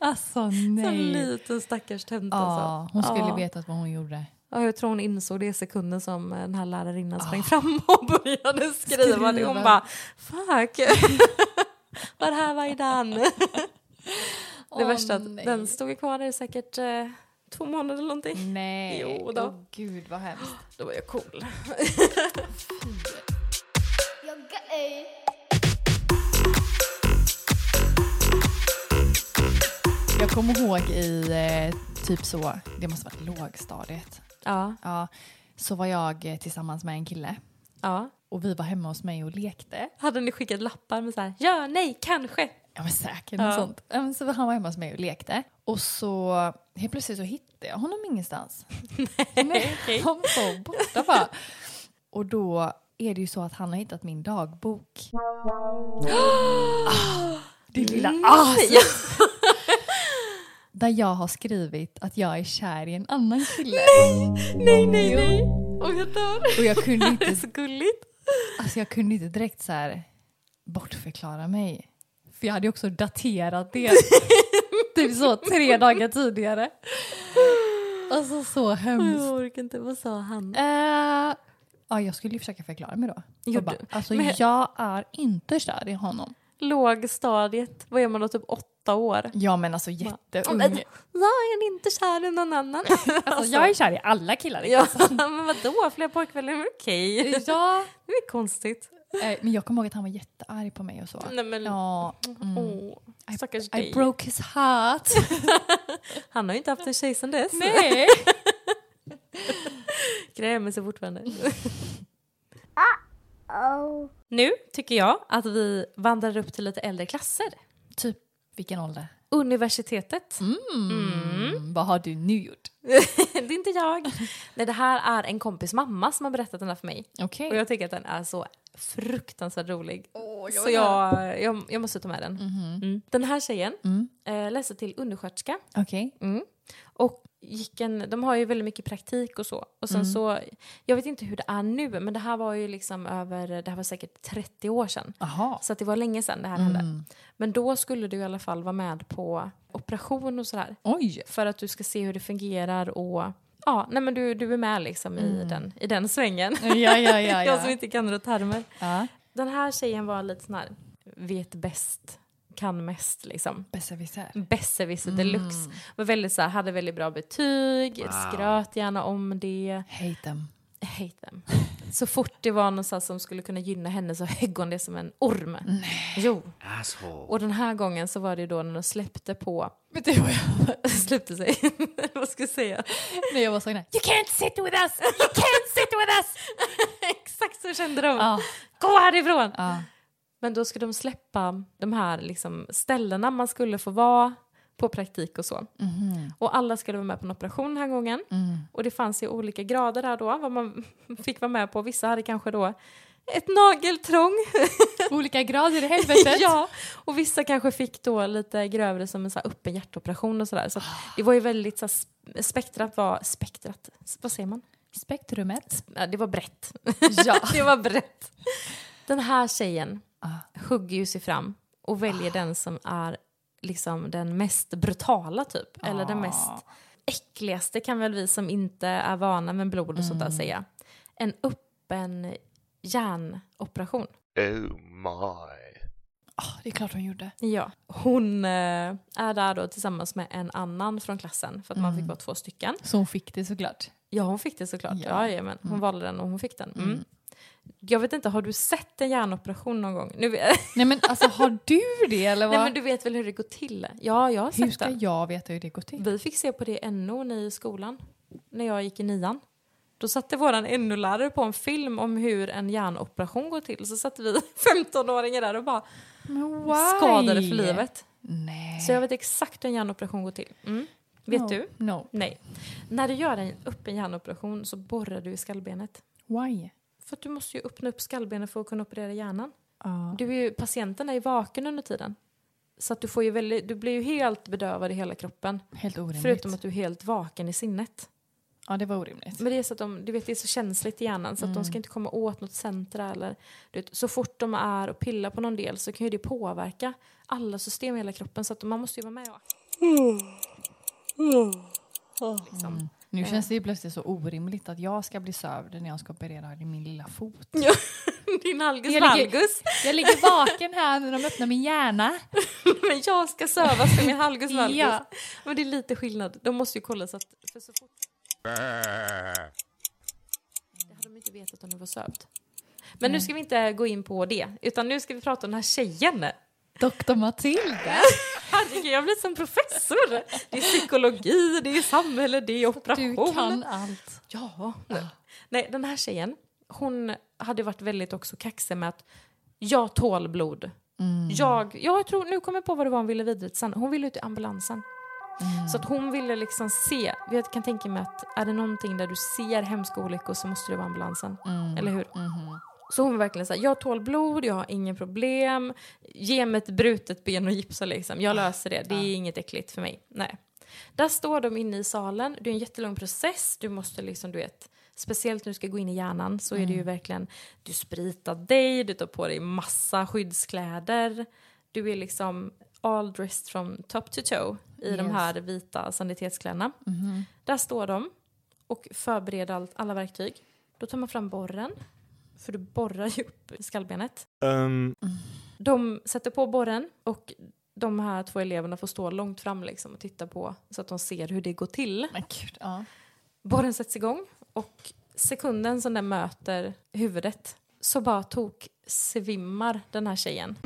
Speaker 3: Alltså
Speaker 1: En
Speaker 3: nej.
Speaker 1: *laughs*
Speaker 3: Ah.
Speaker 1: liten stackars tönt
Speaker 3: Ja,
Speaker 1: alltså.
Speaker 3: hon skulle
Speaker 1: Ja.
Speaker 3: vetat vad hon gjorde.
Speaker 1: Ja, jag tror hon insåg det sekunden som eh, den här lärarinnan sprang fram och *laughs* började skriva, det. Hon
Speaker 3: Skriva.
Speaker 1: bara fuck. *laughs* Vad här var idan. Det
Speaker 3: Åh,
Speaker 1: värsta att
Speaker 3: nej.
Speaker 1: den stod ju kvar där i säkert eh, två månader eller någonting.
Speaker 3: Mm. Nej.
Speaker 1: Jo då.
Speaker 3: Åh, gud vad hemskt.
Speaker 1: Då var jag cool.
Speaker 3: Jag kommer ihåg i eh, typ så, det måste varit lågstadiet.
Speaker 1: Ja,
Speaker 3: Ja, så var jag eh, tillsammans med en kille
Speaker 1: ja.
Speaker 3: och vi var hemma hos mig och lekte.
Speaker 1: Hade ni skickat lappar med så här ja, nej, kanske? *gasps*
Speaker 3: Ja men säkert något
Speaker 1: Ja.
Speaker 3: sånt. Ja, men så han var hemma hos mig och lekte. Och så helt plötsligt så hittade jag honom ingenstans. Nej,
Speaker 1: okej.
Speaker 3: Han var borta bara. Och då är det ju så att han har hittat min dagbok. Ah, det lilla
Speaker 1: Mm.
Speaker 3: as! Där jag har skrivit att jag är kär i en annan kille.
Speaker 1: Nej, nej, nej. Och jag dör.
Speaker 3: Och jag kunde
Speaker 1: Det är
Speaker 3: inte,
Speaker 1: så gulligt.
Speaker 3: alltså jag kunde inte direkt så här bortförklara mig. För jag hade ju också daterat det. *laughs* typ så tre dagar tidigare. Alltså så hemskt.
Speaker 1: Jag orkar inte, vad sa han?
Speaker 3: Eh, ja, jag skulle ju försöka förklara mig då.
Speaker 1: Gjorde
Speaker 3: Jag bara,
Speaker 1: du?
Speaker 3: alltså
Speaker 1: Men-
Speaker 3: jag är inte kär i honom.
Speaker 1: Lågstadiet, vad är man då, typ åtta år?
Speaker 3: Ja men alltså
Speaker 1: Ja,
Speaker 3: jätteung.
Speaker 1: men- Jag är inte kär i någon annan.
Speaker 3: Alltså, jag är kär i alla
Speaker 1: *laughs*
Speaker 3: killar. liksom.
Speaker 1: Ja, *laughs* men vadå, fler pojkvänner är okej.
Speaker 3: Ja.
Speaker 1: Det är konstigt.
Speaker 3: Eh, men jag kommer ihåg att han var jättearg på mig och så.
Speaker 1: Nej, men-
Speaker 3: Ja, mm.
Speaker 1: Åh, stackars
Speaker 3: I
Speaker 1: dig.
Speaker 3: broke his heart.
Speaker 1: Han har ju inte haft en tjej *laughs* sedan dess.
Speaker 3: Nej.
Speaker 1: Grämer sig fortfarande.
Speaker 7: wow.
Speaker 1: Nu tycker jag att vi vandrar upp till lite äldre klasser.
Speaker 3: *laughs* Typ vilken ålder?
Speaker 1: Universitetet.
Speaker 3: Mm. Vad har du nu gjort?
Speaker 1: *laughs* det är inte jag. Nej, det här är en kompis mamma som har berättat den här för mig.
Speaker 3: Okej.
Speaker 1: Och jag tycker att den är så fruktansvärt rolig. så jag, jag, jag måste ta med den. Mm. Den här tjejen eh, läste till undersköterska.
Speaker 3: Okej.
Speaker 1: Mm. Och gick en, de har ju väldigt mycket praktik och så. Och sen så, jag vet inte hur det är nu, men det här var ju liksom över, det här var säkert 30 år sedan.
Speaker 3: Jaha.
Speaker 1: Så att det var länge sedan det här hände. Men då skulle du i alla fall vara med på operation och sådär.
Speaker 3: Oj.
Speaker 1: För att du ska se hur det fungerar och ja, nej men du, du är med liksom i, den, i den svängen.
Speaker 3: Ja, ja, ja, *laughs* ja.
Speaker 1: jag som inte kan några termer.
Speaker 3: Ja.
Speaker 1: Den här tjejen var lite sån här, vet bäst, kan mest liksom.
Speaker 3: Besserwisser.
Speaker 1: Besserwisser deluxe. Var väldigt så här, hade väldigt bra betyg, skröt gärna om det.
Speaker 3: Hate them.
Speaker 1: I hate them. Så fort det var någon så här som skulle kunna gynna henne så högg hon det som en orm. Nej. Jo.
Speaker 8: Asshole.
Speaker 1: Och den här gången så var det ju då när de släppte på,
Speaker 3: Vet du vad
Speaker 1: *laughs*
Speaker 3: jag...
Speaker 1: släppte sig, vad ska jag säga?
Speaker 3: När jag var sån här.
Speaker 1: You can't sit with us! You can't sit with us! *laughs* Exakt så kände de.
Speaker 3: Ja.
Speaker 1: Gå härifrån!
Speaker 3: Ja.
Speaker 1: Men då skulle de släppa de här liksom ställena man skulle få vara på praktik och så. Och alla skulle vara med på en operation den här gången. Och det fanns ju olika grader där då, vad man *laughs* fick vara med på. Vissa hade kanske då ett nageltrång.
Speaker 3: Olika grader i *laughs*
Speaker 1: *laughs*
Speaker 3: helvetet.
Speaker 1: ja, och vissa kanske fick då lite grövre som en så här öppen hjärtoperation och sådär. Så att det var ju väldigt så här, sp- spektrat var, spektrat, S- vad säger man?
Speaker 3: Spektrumet.
Speaker 1: Ja, det var brett.
Speaker 3: Ja.
Speaker 1: *laughs* det var brett. Den här tjejen hugger ju sig fram och väljer den som är liksom den mest brutala typ. Eller den mest äckligaste kan väl vi som inte är vana med blod och sånt där säga. En öppen hjärnoperation.
Speaker 9: Oh my.
Speaker 3: det är klart hon gjorde.
Speaker 1: Ja. Hon eh, är där då tillsammans med en annan från klassen för att man fick vara två stycken.
Speaker 3: Så hon fick det såklart.
Speaker 1: Ja, hon fick det såklart.
Speaker 3: Ja. Mm.
Speaker 1: Ja. men Hon valde den och hon fick den. Mm. Jag vet inte, har du sett en hjärnoperation någon gång? Nu, *laughs*
Speaker 3: Nej men alltså har du det *laughs* eller vad?
Speaker 1: Nej men du vet väl hur det går till? Ja, jag har
Speaker 3: Hur
Speaker 1: sett
Speaker 3: ska
Speaker 1: det.
Speaker 3: jag veta hur det går till?
Speaker 1: Vi fick se på det NO när i skolan, när jag gick i nian. Då satte våran NO-lärare på en film om hur en hjärnoperation går till. Så satte vi *laughs* 15-åringar där och bara skadade för livet.
Speaker 3: Nej.
Speaker 1: Så jag vet exakt hur en hjärnoperation går till. Mm. Vet
Speaker 3: no.
Speaker 1: du?
Speaker 3: No.
Speaker 1: Nej. När du gör en öppen hjärnoperation så borrar du i skallbenet.
Speaker 3: Why?
Speaker 1: För att du måste ju öppna upp skallbenet för att kunna operera hjärnan.
Speaker 3: Ja.
Speaker 1: Du är ju, patienten är ju vaken under tiden. Så att du, får ju väldigt, du blir ju helt bedövad i hela kroppen.
Speaker 3: Helt orimligt.
Speaker 1: Förutom att du är helt vaken i sinnet.
Speaker 3: Ja det var orimligt.
Speaker 1: Men det är så att de, du vet, det är så känsligt i hjärnan så att
Speaker 3: Mm.
Speaker 1: de ska inte komma åt något centra eller du vet, så fort de är och pillar på någon del så kan ju det påverka alla system i hela kroppen så att man måste ju vara med och *laughs* liksom.
Speaker 3: Nu känns det ju plötsligt så orimligt att jag ska bli sövd när jag ska operera i min lilla fot.
Speaker 1: Din algus
Speaker 3: Jag ligger-
Speaker 1: valgus.
Speaker 3: Jag ligger vaken här när de öppnar min hjärna.
Speaker 1: Men jag ska sövas för min algus valgus.
Speaker 3: Ja.
Speaker 1: *laughs* Men det är lite skillnad. De måste ju kolla så att... För så fort... Det hade de inte vetat om de var sövd. Men nu ska vi inte gå in på det, utan nu ska vi prata om den här tjejen.
Speaker 3: Doktor Matilda.
Speaker 1: Herregud, jag blir som professor. Det är psykologi, det är samhälle, det är
Speaker 3: Du
Speaker 1: operation.
Speaker 3: kan allt.
Speaker 1: Ja. Nej. Nej, den här tjejen, hon hade varit väldigt också kaxig med att jag tål blod. Jag, ja, jag tror, nu kommer jag på vad det var hon ville vidare till sen. Hon ville ut i ambulansen. Så att hon ville liksom se, jag kan tänka mig att är det någonting där du ser hemska olyckor så måste det vara ambulansen. Eller hur? Så hon var verkligen såhär, jag tål blod, jag har inga problem. Ge mig ett brutet ben och gipsa liksom. Jag löser det, det är inget äckligt för mig. Nej. Där står de inne i salen, det är en jättelång process, du måste liksom, du vet, speciellt när du ska gå in i hjärnan så är det ju verkligen, du spritar dig, du tar på dig massa skyddskläder, du är liksom all dressed from top to toe i de
Speaker 3: Yes.
Speaker 1: här vita sanitetskläderna. Där står de och förbereder allt, alla verktyg. Då tar man fram borren, för du borrar ju upp skallbenet.
Speaker 5: Um,
Speaker 1: De sätter på borren och de här två eleverna får stå långt fram liksom och titta på så att de ser hur det går till.
Speaker 3: Men gud, ja.
Speaker 1: Borren sätts igång och sekunden som den möter huvudet så bara tok svimmar den här tjejen.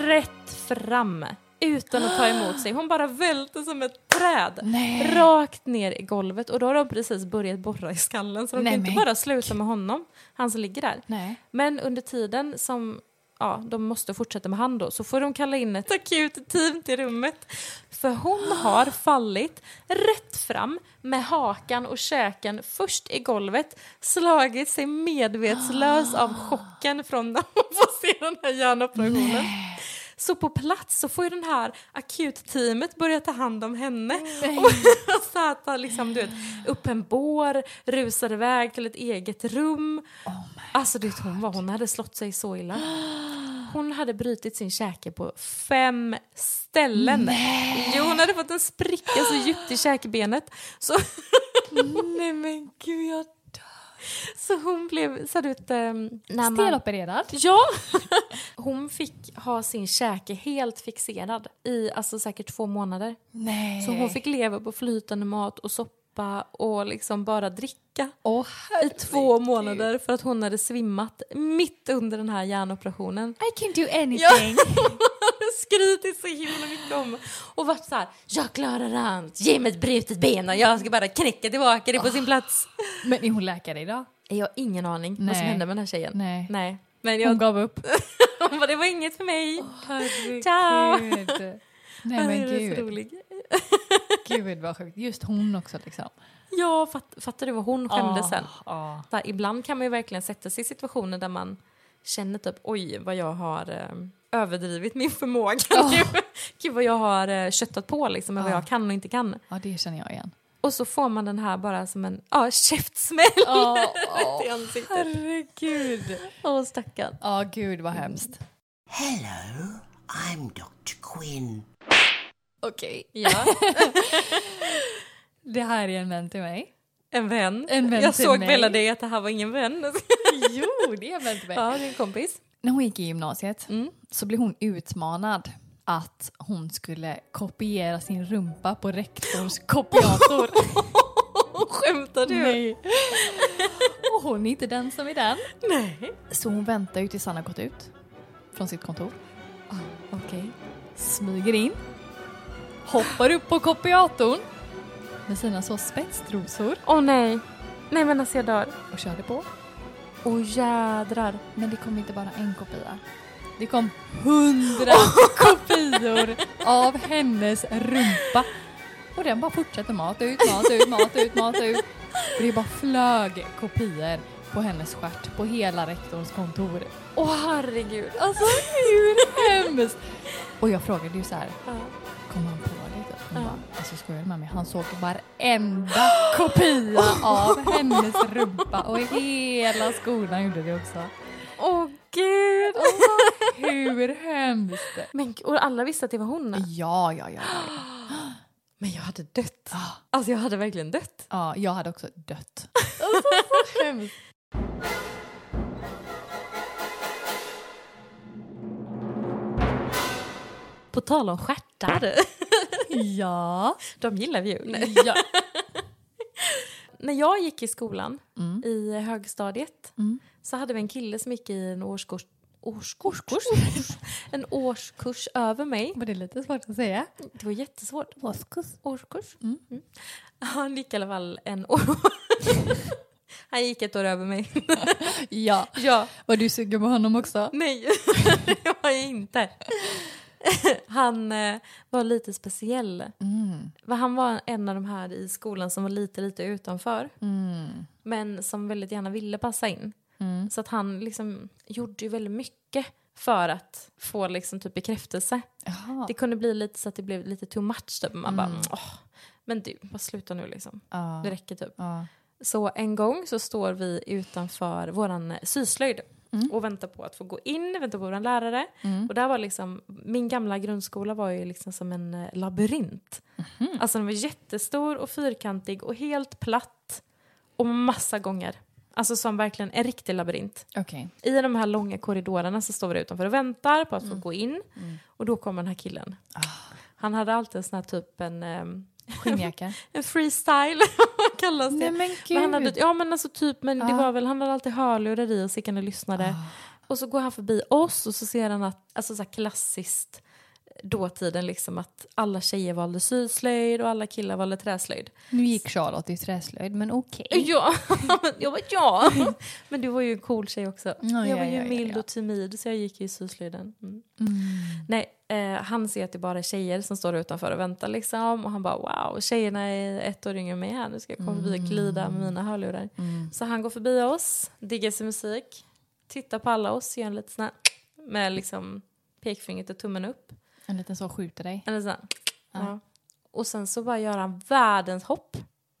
Speaker 1: Rätt fram utan att ta emot sig. Hon bara välte som ett träd
Speaker 3: Nej.
Speaker 1: rakt ner i golvet och då har de precis börjat borra i skallen så de
Speaker 3: Nej,
Speaker 1: kan inte
Speaker 3: men
Speaker 1: bara sluta med honom, han som ligger där.
Speaker 3: Nej.
Speaker 1: Men under tiden som ja, de måste fortsätta med han då så får de kalla in ett akut team till rummet. För hon har fallit rätt fram med hakan och käken först i golvet, slagit sig medvetslös av chocken från när hon får se den här hjärnoperationen. Så på plats så får ju den här akutteamet börja ta hand om henne. Och *laughs* så här, ta liksom, du vet, upp en bår, rusar iväg till ett eget rum.
Speaker 3: Oh
Speaker 1: alltså du vet, hon, var, hon hade slått sig så illa. Hon hade brutit sin käke på fem ställen. Jo, hon hade fått en spricka så djupt i käkbenet. Så,
Speaker 3: Nej men gud jag
Speaker 1: så hon blev... Så här, du vet, ehm, när man-
Speaker 3: Stelopererad.
Speaker 1: Ja! *laughs* Hon fick ha sin käke helt fixerad i alltså, säkert två månader.
Speaker 3: Nej.
Speaker 1: Så hon fick leva på flytande mat och soppa och liksom bara dricka
Speaker 3: Åh,
Speaker 1: i två månader för att hon hade svimmat mitt under den här hjärnoperationen.
Speaker 3: I can do anything.
Speaker 1: Skrytit så himla mycket om och varit så här, jag klarar allt, ge mig ett brutet ben och jag ska bara knäcka tillbaka det på sin plats.
Speaker 3: Men är hon läkare idag?
Speaker 1: Jag har ingen aning vad som
Speaker 3: Nej.
Speaker 1: hände med den här tjejen.
Speaker 3: Nej.
Speaker 1: Ah. Nej. Men
Speaker 3: Hon
Speaker 1: jag,
Speaker 3: gav upp.
Speaker 1: hon bara, det var inget för mig.
Speaker 3: Herregud.
Speaker 1: Ciao.
Speaker 3: Nej men
Speaker 1: det är så
Speaker 3: gud.
Speaker 1: rolig.
Speaker 3: Gud vad sjukt. Just hon också liksom.
Speaker 1: Ja, fatt, fattar du vad hon skämdes
Speaker 3: Ah.
Speaker 1: sen?
Speaker 3: Ja.
Speaker 1: Så här, ibland kan man ju verkligen sätta sig i situationer där man känner typ oj vad jag har eh, överdrivit min förmåga nu. *laughs* Gud vad jag har eh, köttat på liksom med vad
Speaker 3: Ja.
Speaker 1: jag kan och inte kan.
Speaker 3: ja det känner jag igen.
Speaker 1: Och så får man den här bara som en ja, käftsmäll *laughs*
Speaker 3: Ja,
Speaker 1: i ansiktet.
Speaker 3: herregud.
Speaker 1: Åh stackarn.
Speaker 3: Ja, gud vad hemskt.
Speaker 7: Hello, I'm Dr. Quinn.
Speaker 3: Okej.
Speaker 1: Ja,
Speaker 3: Det här är en vän till mig.
Speaker 1: *laughs* en vän.
Speaker 3: En vän
Speaker 1: jag
Speaker 3: till
Speaker 1: såg
Speaker 3: mig.
Speaker 1: väl dig att det här var ingen vän. *laughs*
Speaker 3: Jo, det är en vän till mig.
Speaker 1: ja, det är en kompis.
Speaker 3: När hon gick i gymnasiet så blev hon utmanad att hon skulle kopiera sin rumpa på rektors kopiator.
Speaker 1: Skämtar du?
Speaker 3: Nej. Och hon är inte den som är den. Så hon väntar ju tills han har gått ut från sitt kontor.
Speaker 1: Okej.
Speaker 3: Smyger in. Hoppar upp på kopiatorn med sina så spetstrosor
Speaker 1: Åh nej. Nej men alltså jag dör.
Speaker 3: och körde på.
Speaker 1: Åh jädrar.
Speaker 3: Men det kom inte bara en kopia. Det kom hundra kopior av hennes rumpa. Och den bara fortsatte mat ut, mat ut, mat ut, mat ut. Och det bara flög kopior på hennes stjärt på hela rektorns kontor.
Speaker 1: Åh herregud.
Speaker 3: Alltså hur hemskt? Och jag frågade ju så här,
Speaker 1: Ja.
Speaker 3: kom han på det? typ? Hon
Speaker 1: Ja.
Speaker 3: bara, alltså skojar du med mig? Han såg varenda kopia av hennes rumpa och hela skolan gjorde det också.
Speaker 1: Åh gud.
Speaker 3: Hur hemskt?
Speaker 1: Men, g- och alla visste att det var hon?
Speaker 3: Ja, ja, ja. *gasps*
Speaker 1: Men jag hade dött. Alltså jag hade verkligen dött.
Speaker 3: ja jag hade också dött. hemskt.
Speaker 1: På tal om stjärtar.
Speaker 3: *laughs* Ja.
Speaker 1: *laughs* De gillar vi ju. Nej.
Speaker 3: ja.
Speaker 1: När jag gick i skolan i högstadiet så hade vi en kille som gick i en årskurs Årskurs? *laughs* en årskurs över mig.
Speaker 3: Var det lite svårt att säga?
Speaker 1: Det var jättesvårt.
Speaker 3: Årskurs.
Speaker 1: Årskurs? Mm. Han gick i alla fall en år. *laughs* Han gick ett år över mig.
Speaker 3: Ja.
Speaker 1: ja.
Speaker 3: Var du sugen på honom också?
Speaker 1: Nej, *laughs* det var jag inte. Han eh, var lite speciell. Va, Han var en av de här i skolan som var lite, lite utanför. Men som väldigt gärna ville passa in. Så att han liksom gjorde ju väldigt mycket för att få liksom typ bekräftelse.
Speaker 3: Jaha.
Speaker 1: Det kunde bli lite så att det blev lite too much. Typ. Man bara, åh, men du, bara sluta nu liksom.
Speaker 3: Mm. Ja.
Speaker 1: Det räcker typ.
Speaker 3: Ja.
Speaker 1: Så en gång så står vi utanför våran eh, syslöjd
Speaker 3: Mm.
Speaker 1: och väntar på att få gå in, väntar på våran lärare. Och där var liksom, min gamla grundskola var ju liksom som en eh, labyrint.
Speaker 3: Mhm.
Speaker 1: Alltså den var jättestor och fyrkantig och helt platt och massa gånger. Alltså som verkligen en riktig labyrint.
Speaker 3: Okej.
Speaker 1: I de här långa korridorerna så står vi utanför och väntar på att få
Speaker 3: Mm.
Speaker 1: gå in. Och då kommer den här killen.
Speaker 3: Ah.
Speaker 1: Han hade alltid en sån här typ en, ehm,
Speaker 3: *laughs* Skinnjacka.
Speaker 1: en freestyle, *laughs* vad kallas det?
Speaker 3: men
Speaker 1: Men han hade, ja men alltså typ, men det
Speaker 3: Ah.
Speaker 1: var väl, han hade alltid hörlurar i och så gick han och lyssnade. Och så går han förbi oss och så ser han att, alltså så här klassiskt dåtiden liksom att alla tjejer valde syslöjd och alla killar valde träslöjd.
Speaker 3: Nu gick Charlotte i träslöjd, men okej. *laughs*
Speaker 1: Ja, jag var ja. *laughs* Men du var ju en cool tjej också.
Speaker 3: Ja,
Speaker 1: jag var
Speaker 3: ja,
Speaker 1: ju
Speaker 3: ja, ja,
Speaker 1: mild
Speaker 3: ja.
Speaker 1: och timid så jag gick ju i syslöjden. Mm. Nej, eh, han ser att det bara är tjejer som står utanför och väntar liksom och han bara wow, tjejerna är ett år yngre än mig här, nu ska jag komma förbi och
Speaker 3: Mm.
Speaker 1: glida med mina hörlurar. Så han går förbi oss, diggar sin musik, tittar på alla oss, gör en liten sån här med liksom pekfingret och tummen upp.
Speaker 3: En liten så skjuter dig.
Speaker 1: Eller sån här, ja. Och sen så bara gör han världens hopp.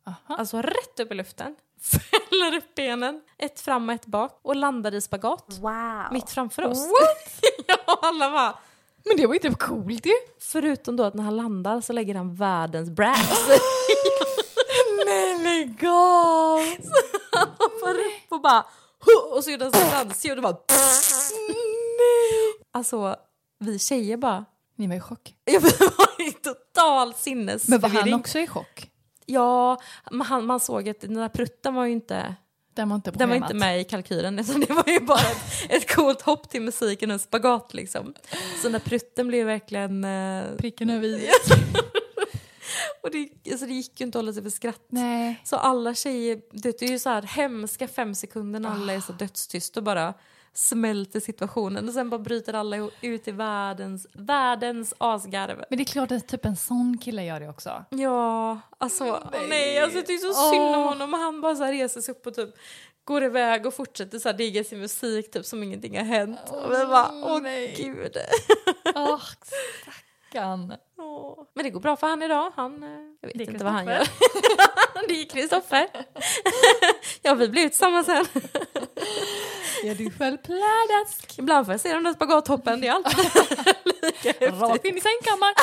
Speaker 3: Aha.
Speaker 1: Alltså rätt upp i luften. *laughs* Fäller upp benen, ett fram och ett bak och landar i spagat.
Speaker 6: Wow.
Speaker 1: Mitt framför oss. *laughs* ja, alla bara.
Speaker 3: Men det var ju typ coolt ju.
Speaker 1: Förutom då att när han landar så lägger han världens brass.
Speaker 3: *laughs* Nej lägg av!
Speaker 1: *laughs* han hoppar upp och bara "Huh!" och så gjorde han så dansig och det bara Alltså vi tjejer bara
Speaker 3: Ni var i chock.
Speaker 1: jag *laughs* var i total sinnesförvirring.
Speaker 3: Men var han också i chock?
Speaker 1: Ja, men han, man såg att den där prutten var ju inte
Speaker 3: Den var inte på
Speaker 1: Den var
Speaker 3: schemat.
Speaker 1: inte med i kalkylen, alltså, *laughs* det var ju bara ett, ett coolt hopp till musiken och en spagat liksom. Så den där prutten blev verkligen... Eh,
Speaker 3: Pricken *laughs* över i.
Speaker 1: och det, alltså, det gick ju inte att hålla sig för skratt.
Speaker 3: Nej.
Speaker 1: Så alla tjejer, det det är ju så här hemska fem sekunder när alla är
Speaker 3: Ah.
Speaker 1: så dödstyst och bara smälter situationen och sen bara bryter alla ihop- ut i världens, världens asgarv.
Speaker 3: Men det är klart att typ en sån kille gör det också.
Speaker 1: Ja, alltså nej, alltså, jag tycker så synd om honom och han bara så här reser sig upp och typ går iväg och fortsätter så här digga sin musik typ som ingenting har hänt. och vi bara, åh gud.
Speaker 3: Åh, stackarn.
Speaker 1: Åh. Men det går bra för han idag. Han, eh, jag vet
Speaker 3: Det är
Speaker 1: inte vad han gör. *laughs* det är Kristoffer. ja, vi blir tillsammans sen.
Speaker 3: Är du självplädad?
Speaker 1: Ibland får jag se de där spagathoppen, det är alltid lika häftigt.
Speaker 3: Rakt in i sängkammaren.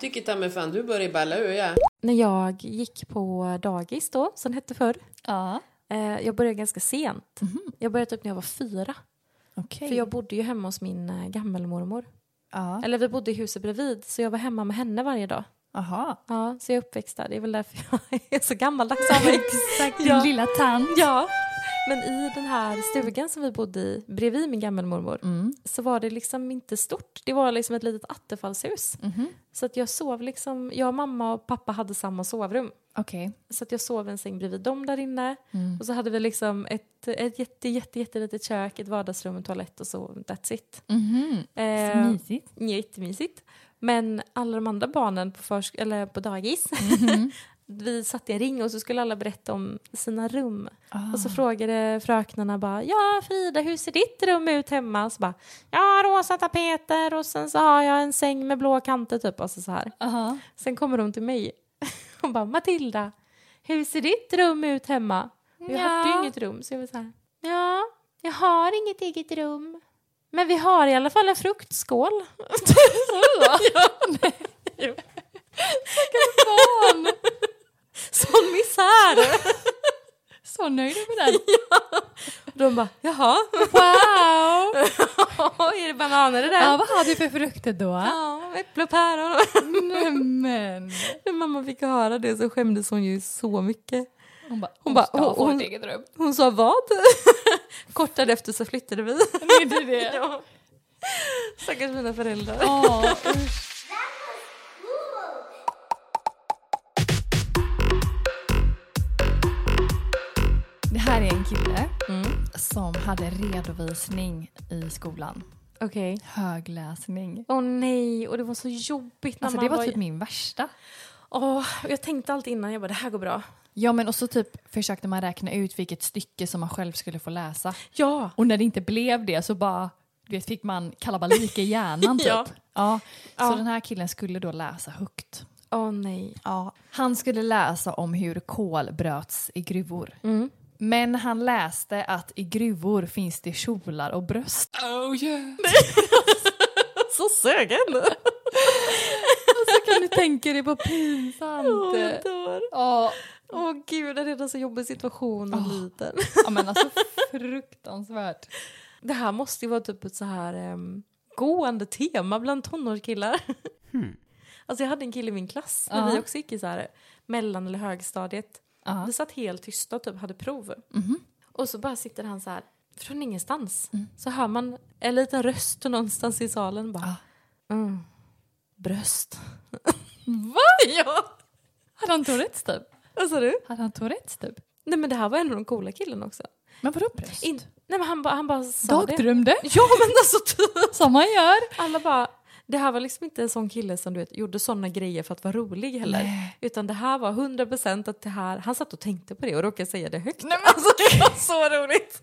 Speaker 8: Tycker ta mig fan du börjar balla ur ja.
Speaker 1: När jag gick på dagis då, som det hette förr,
Speaker 3: Ja.
Speaker 1: eh, jag började ganska sent. Jag började typ när jag var fyra.
Speaker 3: Mhm. Okej.
Speaker 1: För jag bodde ju hemma hos min eh, gammelmormor.
Speaker 3: Ja.
Speaker 1: Eller vi bodde i huset bredvid så jag var hemma med henne varje dag.
Speaker 3: Aha.
Speaker 1: Ja, så jag är uppväxt där. Det är väl därför jag *laughs* är så gammaldags av mig.
Speaker 3: Exakt, din
Speaker 1: Ja.
Speaker 3: lilla tant.
Speaker 1: Ja. Men i den här stugan som vi bodde i bredvid min gammelmormor
Speaker 3: Mm.
Speaker 1: så var det liksom inte stort. Det var liksom ett litet attefallshus.
Speaker 3: Mhm.
Speaker 1: Så att jag sov liksom, jag, mamma och pappa hade samma sovrum.
Speaker 3: Okej.
Speaker 1: Så att jag sov i en säng bredvid dem där inne. Och så hade vi liksom ett, ett jätte, jätte, jättelitet kök, ett vardagsrum, en toalett och så that's it. Eh,
Speaker 3: Mysigt.
Speaker 1: Ja, Jättemysigt. Men alla de andra barnen på, försk- eller på dagis, *laughs* vi satt i en ring och så skulle alla berätta om sina rum. Och så frågade fröknarna bara, ja Frida hur ser ditt rum ut hemma? Och så bara, ja rosa tapeter och sen så har jag en säng med blå kanter typ. Alltså så här.
Speaker 3: Aha.
Speaker 1: Sen kommer de till mig *laughs* och bara, Matilda hur ser ditt rum ut hemma? Och jag hade ju inget rum så jag var så här, ja jag har inget eget rum. Men vi har i alla fall en fruktskål.
Speaker 3: Barn!
Speaker 1: *laughs* Sån misär!
Speaker 3: Så nöjd med *laughs* den.
Speaker 1: De bara, jaha,
Speaker 3: Wow!
Speaker 1: är det bananer det där?
Speaker 3: Ja, vad har du för frukter då?
Speaker 1: Ja, äpple och päron. *laughs*
Speaker 3: Men.
Speaker 1: När mamma fick höra det så skämdes hon ju så mycket.
Speaker 3: Hon bara,
Speaker 1: Hon
Speaker 3: hon,
Speaker 1: bara,
Speaker 3: ska hon,
Speaker 1: hon-
Speaker 3: få
Speaker 1: hon-
Speaker 3: ett eget *laughs* rum.
Speaker 1: Hon sa vad? *laughs* Kort därefter så flyttade vi.
Speaker 3: Det är inte *laughs* det.
Speaker 1: Ja. Stackars mina föräldrar.
Speaker 3: Ja. Det här är en kille Mm. som hade redovisning i skolan.
Speaker 1: Okej.
Speaker 3: Högläsning.
Speaker 1: Åh nej, och det var så jobbigt när
Speaker 3: Alltså
Speaker 1: man
Speaker 3: det var
Speaker 1: var...
Speaker 3: typ min värsta.
Speaker 1: Åh, jag tänkte allt innan, jag bara det här går bra.
Speaker 3: Ja men och så typ försökte man räkna ut vilket stycke som man själv skulle få läsa.
Speaker 1: Ja,
Speaker 3: Och när det inte blev det så bara du vet, fick man kalabalik
Speaker 1: *laughs*
Speaker 3: i hjärnan typ.
Speaker 1: Ja.
Speaker 3: ja. Så den här killen skulle då läsa högt.
Speaker 1: åh nej.
Speaker 3: Ja, han skulle läsa om hur kol bröts i gruvor.
Speaker 1: Mm.
Speaker 3: Men han läste att i gruvor finns det kjolar och bröst. *laughs*
Speaker 2: Oh yeah.
Speaker 1: Så sögen!
Speaker 3: Så kan du tänka dig vad pinsamt.
Speaker 1: jag dör.
Speaker 3: Ja,
Speaker 1: Åh gud, det är redan så jobbig situation och liten.
Speaker 3: ja, men alltså fruktansvärt.
Speaker 1: Det här måste ju vara typ ett så här ehm, gående tema bland tonårskillar. *laughs* Alltså jag hade en kille i min klass när
Speaker 3: Hmm. Ja.
Speaker 1: vi också gick i så här mellan eller högstadiet.
Speaker 3: Ja. Mhm.
Speaker 1: Vi satt helt tysta och typ hade prov. Och så bara sitter han så här Från ingenstans
Speaker 3: Mm.
Speaker 1: så hör man en liten röst någonstans i salen bara. Mm.
Speaker 3: *laughs*
Speaker 1: Bröst. Va? Ja.
Speaker 3: Hade han Tourettes typ?
Speaker 1: Vad sa du?
Speaker 3: Hade han Tourettes typ?
Speaker 1: Nej men det här var en av de coola killarna också.
Speaker 3: Men vadå bröst?
Speaker 1: In, nej men han, bara- han bara sa det.
Speaker 3: Dagdrömde?
Speaker 1: Ja men alltså typ.
Speaker 3: *laughs* Som man gör.
Speaker 1: Alla bara, det här var liksom inte en sån kille som du vet gjorde såna grejer för att vara rolig heller. Utan det här var 100% att det här, han satt och tänkte på det och råkade säga det högt. Nej, men alltså det var så roligt.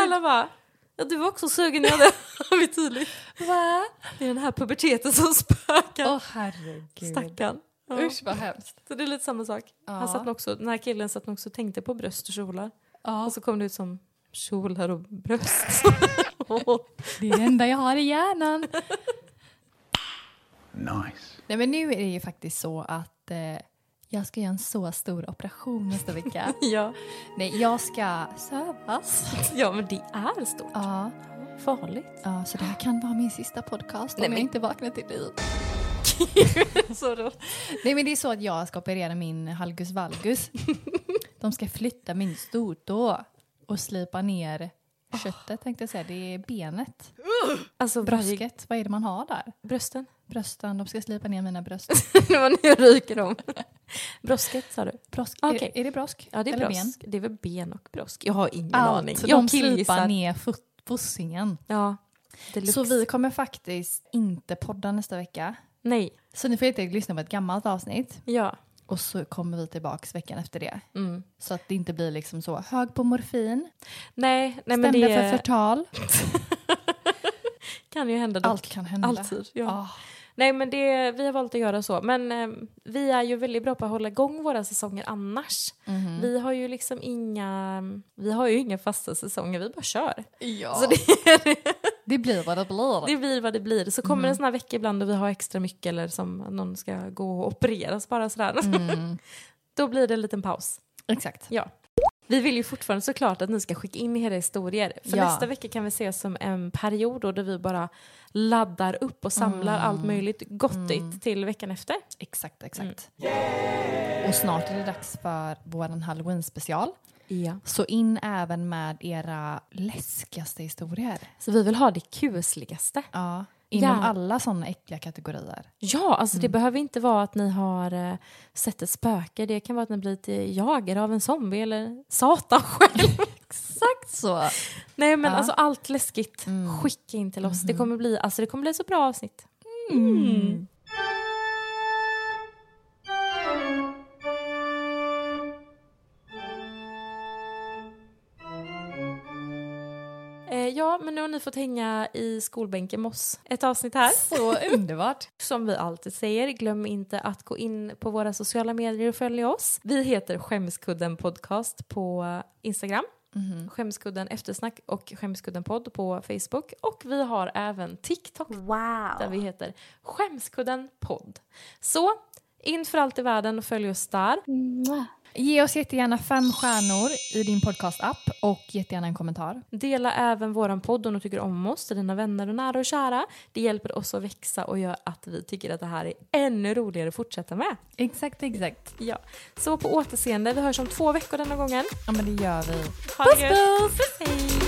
Speaker 1: Alla bara, ja du var också sugen, jag
Speaker 3: *laughs*
Speaker 1: det har vi tydligt.
Speaker 3: Va?
Speaker 1: Det är den här puberteten som spökar.
Speaker 3: Åh herregud.
Speaker 1: Stackarn. Ja.
Speaker 3: Usch vad hemskt.
Speaker 1: Så det är lite samma sak. Han satt nog också, den här killen satt nog också och tänkte på bröst och kjolar. Och så kom det ut som kjolar och bröst. *laughs* Åh.
Speaker 3: Det är det enda jag har i hjärnan. nice. Nej men nu är det ju faktiskt så att eh, jag ska göra en så stor operation nästa *laughs* vecka.
Speaker 1: ja.
Speaker 3: Nej, jag ska sövas.
Speaker 1: ja men det är stort.
Speaker 3: Ja,
Speaker 1: Farligt.
Speaker 3: ja, så det här kan vara min sista podcast om
Speaker 1: Nej,
Speaker 3: jag
Speaker 1: men-
Speaker 3: inte vaknar till liv. Alltså,
Speaker 1: Så roligt.
Speaker 3: Nej men det är så att jag ska operera min halgus *laughs* valgus. De ska flytta min stortå och slipa ner köttet tänkte jag säga. Det är benet.
Speaker 1: Alltså varje-
Speaker 3: Brösket, vad är det man har där?
Speaker 1: brösten.
Speaker 3: Brösten, de ska slipa ner mina bröst. *laughs*
Speaker 1: det var nu jag ryker *laughs* om. Brösket sa du?
Speaker 3: Brosk,
Speaker 1: Okej.
Speaker 3: är, är det brosk?
Speaker 1: Ja det är
Speaker 3: Eller
Speaker 1: brosk. Det är väl ben och brosk. Jag har ingen aning.
Speaker 3: Allt,
Speaker 1: Jag
Speaker 3: de slipar ner fut- fossingen.
Speaker 1: Ja. Deluxe.
Speaker 3: Så vi kommer faktiskt inte podda nästa vecka.
Speaker 1: Nej.
Speaker 3: Så ni får inte lyssna på ett gammalt avsnitt.
Speaker 1: Ja.
Speaker 3: Och så kommer vi tillbaks veckan efter det.
Speaker 1: Mm.
Speaker 3: Så att det inte blir liksom så hög på morfin,
Speaker 1: Nej, nej men
Speaker 3: stämda
Speaker 1: det
Speaker 3: för förtal.
Speaker 1: kan ju hända. dock.
Speaker 3: Allt kan hända.
Speaker 1: Alltid. Ja.
Speaker 3: Ah.
Speaker 1: Nej men det, vi har valt att göra så. Men eh, vi är ju väldigt bra på att hålla igång våra säsonger annars.
Speaker 3: Mhm.
Speaker 1: Vi har ju liksom inga, vi har ju inga fasta säsonger, vi bara kör.
Speaker 3: Så det, det blir vad det blir.
Speaker 1: Det blir vad det blir. Så kommer en sån här vecka ibland då vi har extra mycket eller som någon ska gå och opereras bara sådär. *laughs* då blir det en liten paus.
Speaker 3: Exakt.
Speaker 1: Ja. Vi vill ju fortfarande såklart att ni ska skicka in era historier. För
Speaker 3: Ja.
Speaker 1: nästa vecka kan vi ses som en period då där vi bara laddar upp och samlar allt möjligt gottigt till veckan efter.
Speaker 3: Exakt, exakt.
Speaker 1: Mm.
Speaker 3: Och snart är det dags för vår halloween special.
Speaker 1: Ja.
Speaker 3: Så in även med era läskigaste historier.
Speaker 1: Så vi vill ha det kusligaste.
Speaker 3: Ja. Inom
Speaker 1: Ja.
Speaker 3: alla sådana äckliga kategorier.
Speaker 1: Ja, alltså det behöver inte vara att ni har eh, sett ett spöke. Det kan vara att ni blivit eh, jagade av en zombie eller satan själv. *laughs*
Speaker 3: Exakt så.
Speaker 1: Nej men alltså allt läskigt, skicka in till oss. Det, kommer bli, alltså, det kommer bli så bra avsnitt. Eh, ja, men nu har ni fått hänga i skolbänken med oss ett avsnitt här.
Speaker 3: Så underbart.
Speaker 1: Som vi alltid säger, glöm inte att gå in på våra sociala medier och följa oss. Vi heter Skämskudden Podcast på Instagram, Skämskudden Eftersnack och Skämskudden Podd på Facebook. Och vi har även TikTok där
Speaker 6: Wow.
Speaker 1: vi heter Skämskudden Podd. Så in för allt i världen och följ oss där.
Speaker 3: *laughs* Ge oss jättegärna fem stjärnor i din podcast-app och jättegärna en kommentar.
Speaker 1: Dela även våran podd om du tycker om oss till dina vänner och nära och kära. Det hjälper oss att växa och gör att vi tycker att det här är ännu roligare att fortsätta med.
Speaker 3: Exakt, exakt.
Speaker 1: Ja. Så på återseende, vi hörs om två veckor denna gången.
Speaker 3: Ja men det gör vi.
Speaker 1: Ha puss, puss! Hej!